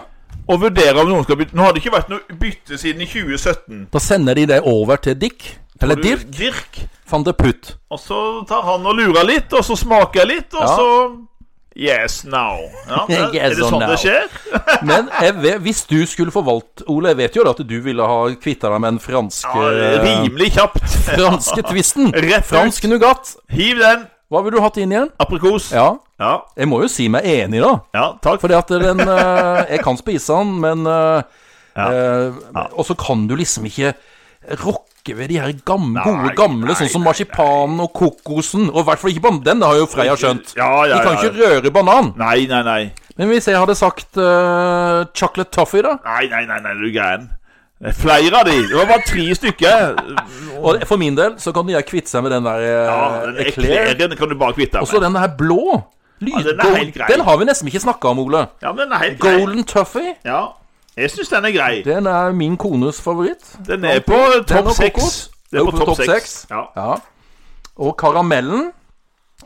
[SPEAKER 2] Og vurderer om noen skal bytte. Nå har det ikke vært noe bytte siden i 2017.
[SPEAKER 1] Da sender de det over til Dick. Eller
[SPEAKER 2] Du,
[SPEAKER 1] Dirk
[SPEAKER 2] Dirk.
[SPEAKER 1] van der Putt.
[SPEAKER 2] Og så tar han og lurer litt, og så smaker jeg litt, og
[SPEAKER 1] Ja.
[SPEAKER 2] så Yes, now.
[SPEAKER 1] [LAUGHS]
[SPEAKER 2] Ja, det,
[SPEAKER 1] Yes,
[SPEAKER 2] er det sånn
[SPEAKER 1] now.
[SPEAKER 2] det skjer?
[SPEAKER 1] Men jeg vet, hvis du skulle få valgt, Ole, jeg vet jo da at du ville ha kvitta deg med den franske
[SPEAKER 2] Ja, rimelig kjapt.
[SPEAKER 1] eh, Franske twisten.
[SPEAKER 2] [LAUGHS] Rett ut.
[SPEAKER 1] Fransk nougat.
[SPEAKER 2] Hiv den.
[SPEAKER 1] Hva ville du hatt inn igjen?
[SPEAKER 2] Aprikos. Ja.
[SPEAKER 1] Ja,
[SPEAKER 2] ja,
[SPEAKER 1] jeg må jo si meg enig, da.
[SPEAKER 2] takk.
[SPEAKER 1] Fordi at den eh, Jeg kan spise den, men eh, eh, Og så kan du liksom ikke rokke ved de her gamle, gode gamle,
[SPEAKER 2] nei,
[SPEAKER 1] sånn som marsipanen og kokosen. Og i hvert fall ikke banan. Den har jo Freia skjønt.
[SPEAKER 2] Ja, ja,
[SPEAKER 1] De kan
[SPEAKER 2] ja.
[SPEAKER 1] ikke røre banan.
[SPEAKER 2] Nei, nei, nei.
[SPEAKER 1] Men hvis jeg hadde sagt eh, chocolate toffee, da
[SPEAKER 2] Nei, nei, nei, nei, du er gæren. Det er Flere av de. Det var bare tre stykker.
[SPEAKER 1] Og for min del så kan de her kvitte seg med den der eh,
[SPEAKER 2] Ja, den
[SPEAKER 1] eclair.
[SPEAKER 2] Ekleren kan du bare kvitte
[SPEAKER 1] Og så
[SPEAKER 2] deg med.
[SPEAKER 1] den her blå. Lyd,
[SPEAKER 2] den er
[SPEAKER 1] gold-
[SPEAKER 2] helt grei.
[SPEAKER 1] den har vi nesten ikke snakka om, Ole.
[SPEAKER 2] Ja, men den er helt grei.
[SPEAKER 1] Golden Tuffy.
[SPEAKER 2] Ja. Jeg syns den er grei.
[SPEAKER 1] Den er min kones favoritt.
[SPEAKER 2] Den er på topp
[SPEAKER 1] og
[SPEAKER 2] seks.
[SPEAKER 1] kokos.
[SPEAKER 2] Den er
[SPEAKER 1] Den
[SPEAKER 2] på topp seks. Ja.
[SPEAKER 1] Ja. Og karamellen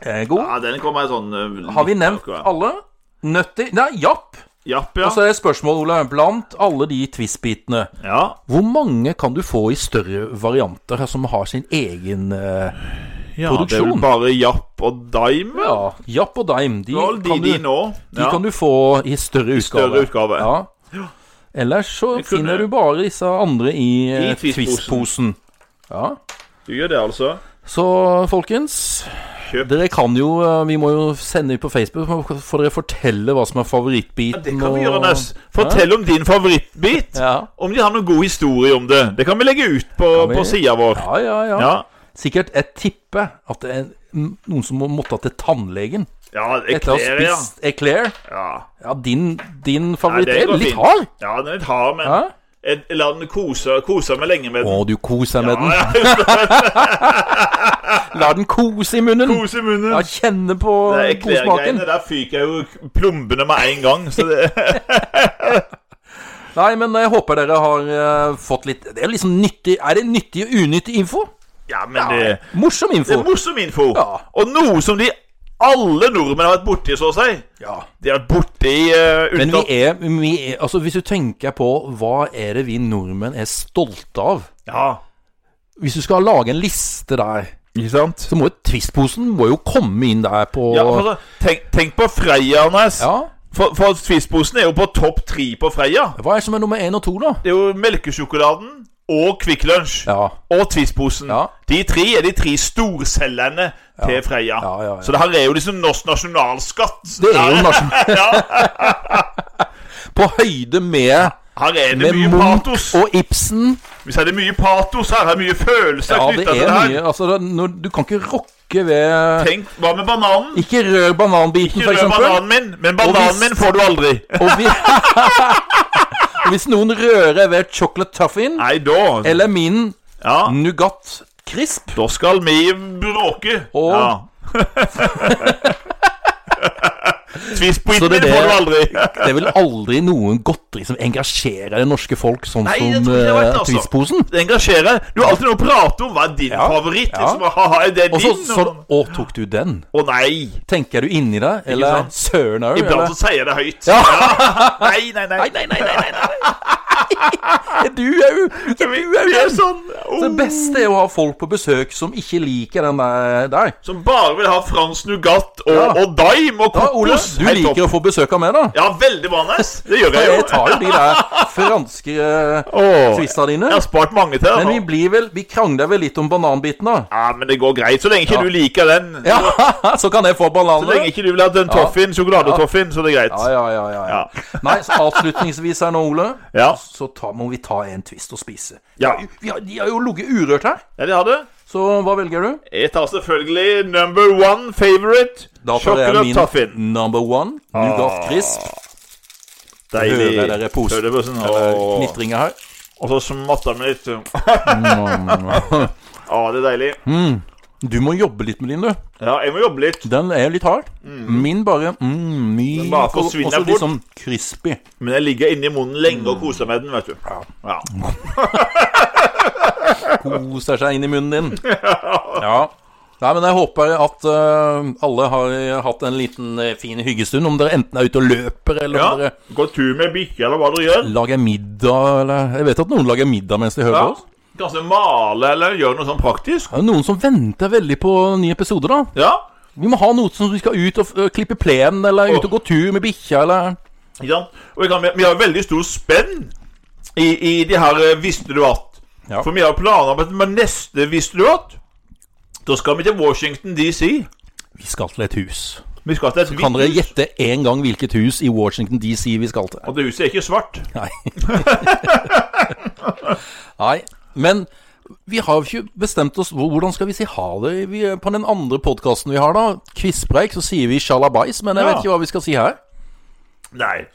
[SPEAKER 1] er god.
[SPEAKER 2] ja, den kommer sånn eh,
[SPEAKER 1] Har vi
[SPEAKER 2] litt
[SPEAKER 1] nevnt
[SPEAKER 2] akkurat.
[SPEAKER 1] alle? Altså, Nøtti Nei, japp.
[SPEAKER 2] Japp, ja.
[SPEAKER 1] Og så er spørsmålet, Ole, blant alle de twist-bitene,
[SPEAKER 2] ja.
[SPEAKER 1] hvor mange kan du få i større varianter her som har sin egen eh,
[SPEAKER 2] Ja,
[SPEAKER 1] Produksjon.
[SPEAKER 2] det er vel bare Japp og Dime.
[SPEAKER 1] Ja, japp og dime. De,
[SPEAKER 2] Det var vel de,
[SPEAKER 1] kan,
[SPEAKER 2] de
[SPEAKER 1] du,
[SPEAKER 2] nå.
[SPEAKER 1] de kan du få i større utgave.
[SPEAKER 2] Større utgave.
[SPEAKER 1] Ja. Ellers så
[SPEAKER 2] kunne-
[SPEAKER 1] finner du bare disse andre i,
[SPEAKER 2] I
[SPEAKER 1] eh,
[SPEAKER 2] Twist-posen.
[SPEAKER 1] twist-posen. Ja.
[SPEAKER 2] Du gjør det, altså.
[SPEAKER 1] Så folkens
[SPEAKER 2] Kjøp.
[SPEAKER 1] Dere kan jo eh, Vi må jo sende ut på Facebook, så får dere fortelle hva som er favorittbiten.
[SPEAKER 2] Det kan vi
[SPEAKER 1] og-
[SPEAKER 2] gjøre, Nes. Fortell om din favorittbit.
[SPEAKER 1] Ja.
[SPEAKER 2] Om de har noen god historie om det. Det kan vi legge ut på,
[SPEAKER 1] Kan vi?
[SPEAKER 2] på sida vår.
[SPEAKER 1] Ja, ja, ja,
[SPEAKER 2] Ja,
[SPEAKER 1] Sikkert. Jeg tipper at det er noen som må måtte til tannlegen
[SPEAKER 2] ja
[SPEAKER 1] etter å ha
[SPEAKER 2] Eclair, ja.
[SPEAKER 1] spist Eclair.
[SPEAKER 2] ja.
[SPEAKER 1] Ja, din, din favoritt
[SPEAKER 2] Nei, det
[SPEAKER 1] er
[SPEAKER 2] går
[SPEAKER 1] litt
[SPEAKER 2] fint.
[SPEAKER 1] hard.
[SPEAKER 2] Ja, den er litt hard, men
[SPEAKER 1] Ja?
[SPEAKER 2] jeg, jeg lar den kose, kose meg lenge med
[SPEAKER 1] Å,
[SPEAKER 2] den.
[SPEAKER 1] du koser med den.
[SPEAKER 2] Ja, ja,
[SPEAKER 1] [LAUGHS] La den kose i munnen.
[SPEAKER 2] kose i munnen.
[SPEAKER 1] Ja, kjenne på
[SPEAKER 2] Det er
[SPEAKER 1] godsmaken.
[SPEAKER 2] Eclair-greiene. Der fyker jeg jo plombene med en gang. Så det,
[SPEAKER 1] [LAUGHS] Nei, men jeg håper dere har eh, fått litt Det er jo liksom nyttig Er det nyttig og unyttig info?
[SPEAKER 2] ja, men det
[SPEAKER 1] Morsom
[SPEAKER 2] Det
[SPEAKER 1] info.
[SPEAKER 2] er morsom info.
[SPEAKER 1] Ja.
[SPEAKER 2] Og noe som de alle nordmenn har vært borti, så å si.
[SPEAKER 1] Ja.
[SPEAKER 2] De har vært borti uh,
[SPEAKER 1] Men vi er, vi er Altså, hvis du tenker på hva er det vi nordmenn er stolte av
[SPEAKER 2] Ja,
[SPEAKER 1] Hvis du skal lage en liste der,
[SPEAKER 2] ikke sant?
[SPEAKER 1] så må jo Twist-posen må jo komme inn der på
[SPEAKER 2] Ja, altså, tenk, tenk på Freia, Anders.
[SPEAKER 1] Ja.
[SPEAKER 2] For, for Twistposen er jo på topp tre på Freia.
[SPEAKER 1] Hva er det som er nummer én og to, da?
[SPEAKER 2] Det er jo melkesjokoladen og Kvikk Lunsj.
[SPEAKER 1] Ja.
[SPEAKER 2] Og Twistposen.
[SPEAKER 1] Ja.
[SPEAKER 2] De tre er de tre storselgerne til Freia.
[SPEAKER 1] Ja, ja, ja.
[SPEAKER 2] Så det her er jo liksom norsk nasjonalskatt.
[SPEAKER 1] Det er jo nasjon...
[SPEAKER 2] [LAUGHS] ja,
[SPEAKER 1] [LAUGHS] På høyde med,
[SPEAKER 2] Her er det
[SPEAKER 1] med
[SPEAKER 2] mye patos.
[SPEAKER 1] Munch og Ibsen.
[SPEAKER 2] Vi sier det er mye patos her. her er Mye følelser
[SPEAKER 1] Ja, det
[SPEAKER 2] knytta til
[SPEAKER 1] er
[SPEAKER 2] det her.
[SPEAKER 1] mye Altså, det er når, du kan ikke rokke ved
[SPEAKER 2] Tenk, hva med bananen?
[SPEAKER 1] Ikke rør bananbiten,
[SPEAKER 2] Ikke
[SPEAKER 1] for
[SPEAKER 2] rør
[SPEAKER 1] eksempel.
[SPEAKER 2] bananen min, men bananen
[SPEAKER 1] hvis-
[SPEAKER 2] min får du aldri.
[SPEAKER 1] Og, vi... [LAUGHS] og hvis noen rører ved chocolate tuffin
[SPEAKER 2] Nei, da
[SPEAKER 1] eller min
[SPEAKER 2] Ja,
[SPEAKER 1] nougat crisp
[SPEAKER 2] da skal vi bråke.
[SPEAKER 1] Og- [LAUGHS]
[SPEAKER 2] Ja. Twistbiten
[SPEAKER 1] Så det
[SPEAKER 2] min
[SPEAKER 1] er det-
[SPEAKER 2] får du aldri.
[SPEAKER 1] Det er vel aldri noen godteri som engasjerer det norske folk sånn
[SPEAKER 2] Nei, det
[SPEAKER 1] som
[SPEAKER 2] tror jeg jeg vet,
[SPEAKER 1] eh,
[SPEAKER 2] altså.
[SPEAKER 1] Twist-posen.
[SPEAKER 2] Det engasjerer. Du har alltid noe å prate om. Hva er din
[SPEAKER 1] Ja,
[SPEAKER 2] favoritt?
[SPEAKER 1] ja.
[SPEAKER 2] Liksom, haha, er det
[SPEAKER 1] Og så
[SPEAKER 2] din?
[SPEAKER 1] så- Å, tok du den?
[SPEAKER 2] Å nei.
[SPEAKER 1] Tenker du inni deg? Eller
[SPEAKER 2] sant?
[SPEAKER 1] søren òg?
[SPEAKER 2] Iblant
[SPEAKER 1] Eller
[SPEAKER 2] så sier jeg det høyt.
[SPEAKER 1] Ja.
[SPEAKER 2] Ja. Nei, nei, nei.
[SPEAKER 1] Nei, nei, nei, nei, nei, nei. Du er jo ikke du
[SPEAKER 2] Vi,
[SPEAKER 1] er
[SPEAKER 2] vi
[SPEAKER 1] jo den.
[SPEAKER 2] er sånn oh,
[SPEAKER 1] Det beste er å ha folk på besøk som ikke liker den der. der.
[SPEAKER 2] Som bare vil ha fransk nougat og,
[SPEAKER 1] Ja.
[SPEAKER 2] og daim og
[SPEAKER 1] Ja, Ole,
[SPEAKER 2] kokos.
[SPEAKER 1] du
[SPEAKER 2] Helt topp.
[SPEAKER 1] liker å få besøk av meg, da?
[SPEAKER 2] Ja, veldig bra, Nes. Det gjør jeg jo.
[SPEAKER 1] Jeg tar jo de der franske eh,
[SPEAKER 2] Åh,
[SPEAKER 1] twista dine.
[SPEAKER 2] Jeg har spart mange til
[SPEAKER 1] Men
[SPEAKER 2] deg
[SPEAKER 1] vi
[SPEAKER 2] nå.
[SPEAKER 1] blir vel Vi krangler vel litt om bananbiten, da.
[SPEAKER 2] Ja, men det går greit, så lenge ikke du liker den.
[SPEAKER 1] Ja, [LAUGHS] så kan jeg få
[SPEAKER 2] Så lenge
[SPEAKER 1] bananene.
[SPEAKER 2] ikke du vil ha den toffin, sjokoladetoffin, så det er
[SPEAKER 1] Ja,
[SPEAKER 2] greit.
[SPEAKER 1] ja, ja. ja, ja. Nei, så avslutningsvis her nå, Ole,
[SPEAKER 2] Ja,
[SPEAKER 1] så ta, må vi ta en twist og spise.
[SPEAKER 2] ja.
[SPEAKER 1] Vi har, de har jo ligget urørt her,
[SPEAKER 2] ja de har det.
[SPEAKER 1] så hva velger du?
[SPEAKER 2] Jeg tar selvfølgelig number one favorite.
[SPEAKER 1] Da tar jeg
[SPEAKER 2] Chocolate
[SPEAKER 1] min
[SPEAKER 2] toffin.
[SPEAKER 1] number one, Nougat Crisp.
[SPEAKER 2] Deilig.
[SPEAKER 1] Hører dere posen?
[SPEAKER 2] Hører dere posen?
[SPEAKER 1] Eller
[SPEAKER 2] Åh.
[SPEAKER 1] Knitringer her.
[SPEAKER 2] Og så smatter vi litt.
[SPEAKER 1] Mm.
[SPEAKER 2] [LAUGHS] Å, det er deilig.
[SPEAKER 1] Du må jobbe litt med din, du.
[SPEAKER 2] Ja, jeg må jobbe litt.
[SPEAKER 1] Den er litt hard. Min bare mm, myk
[SPEAKER 2] bare
[SPEAKER 1] og-
[SPEAKER 2] forsvinner
[SPEAKER 1] også
[SPEAKER 2] bort.
[SPEAKER 1] litt sånn crispy.
[SPEAKER 2] Men jeg ligger inni munnen lenge og koser med den, vet du. Ja.
[SPEAKER 1] Koser seg inn i munnen
[SPEAKER 2] [LAUGHS]
[SPEAKER 1] din. Ja. Nei, men jeg håper at eh, alle har hatt en liten eh, fin hyggestund. Om dere enten er ute og løper, eller om
[SPEAKER 2] ja.
[SPEAKER 1] dere
[SPEAKER 2] Gå tur med bikkja, eller hva dere gjør.
[SPEAKER 1] lager middag, eller Jeg vet at noen lager middag mens de hører
[SPEAKER 2] Ja.
[SPEAKER 1] på oss.
[SPEAKER 2] Kanskje male, eller gjøre noe sånn praktisk.
[SPEAKER 1] Det er noen som venter veldig på nye episoder, da.
[SPEAKER 2] Ja.
[SPEAKER 1] Vi må ha noe som vi skal ut og eh, klippe plenen, eller ut og gå tur med bikkja, eller
[SPEAKER 2] Ikke sant? Og vi, kan, vi har veldig stor spenn i, i de her eh, Visste du at?
[SPEAKER 1] Ja.
[SPEAKER 2] For vi har planer om at med neste Visste du at? Da skal vi til Washington DC.
[SPEAKER 1] Vi skal til et hus.
[SPEAKER 2] Vi skal til et
[SPEAKER 1] Kan dere
[SPEAKER 2] hvitt hus.
[SPEAKER 1] gjette én gang hvilket hus i Washington DC vi skal til?
[SPEAKER 2] Og det huset er ikke svart.
[SPEAKER 1] Nei. [LAUGHS] Nei. Men vi har jo ikke bestemt oss hvor- Hvordan skal vi si ha det? Vi, på den andre podkasten vi har, da, Kvisspreik, så sier vi sjalabais, men jeg
[SPEAKER 2] Ja.
[SPEAKER 1] vet ikke hva vi skal si her.
[SPEAKER 2] Nei.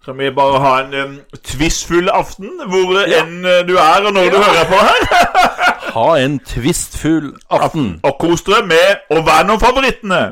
[SPEAKER 2] Skal vi bare ha en um, tvistfull aften hvor eh,
[SPEAKER 1] Ja.
[SPEAKER 2] enn eh, du er, og når du hører på her?
[SPEAKER 1] Ha en tvistfull aften.
[SPEAKER 2] Og kos dere med å være noen favorittene.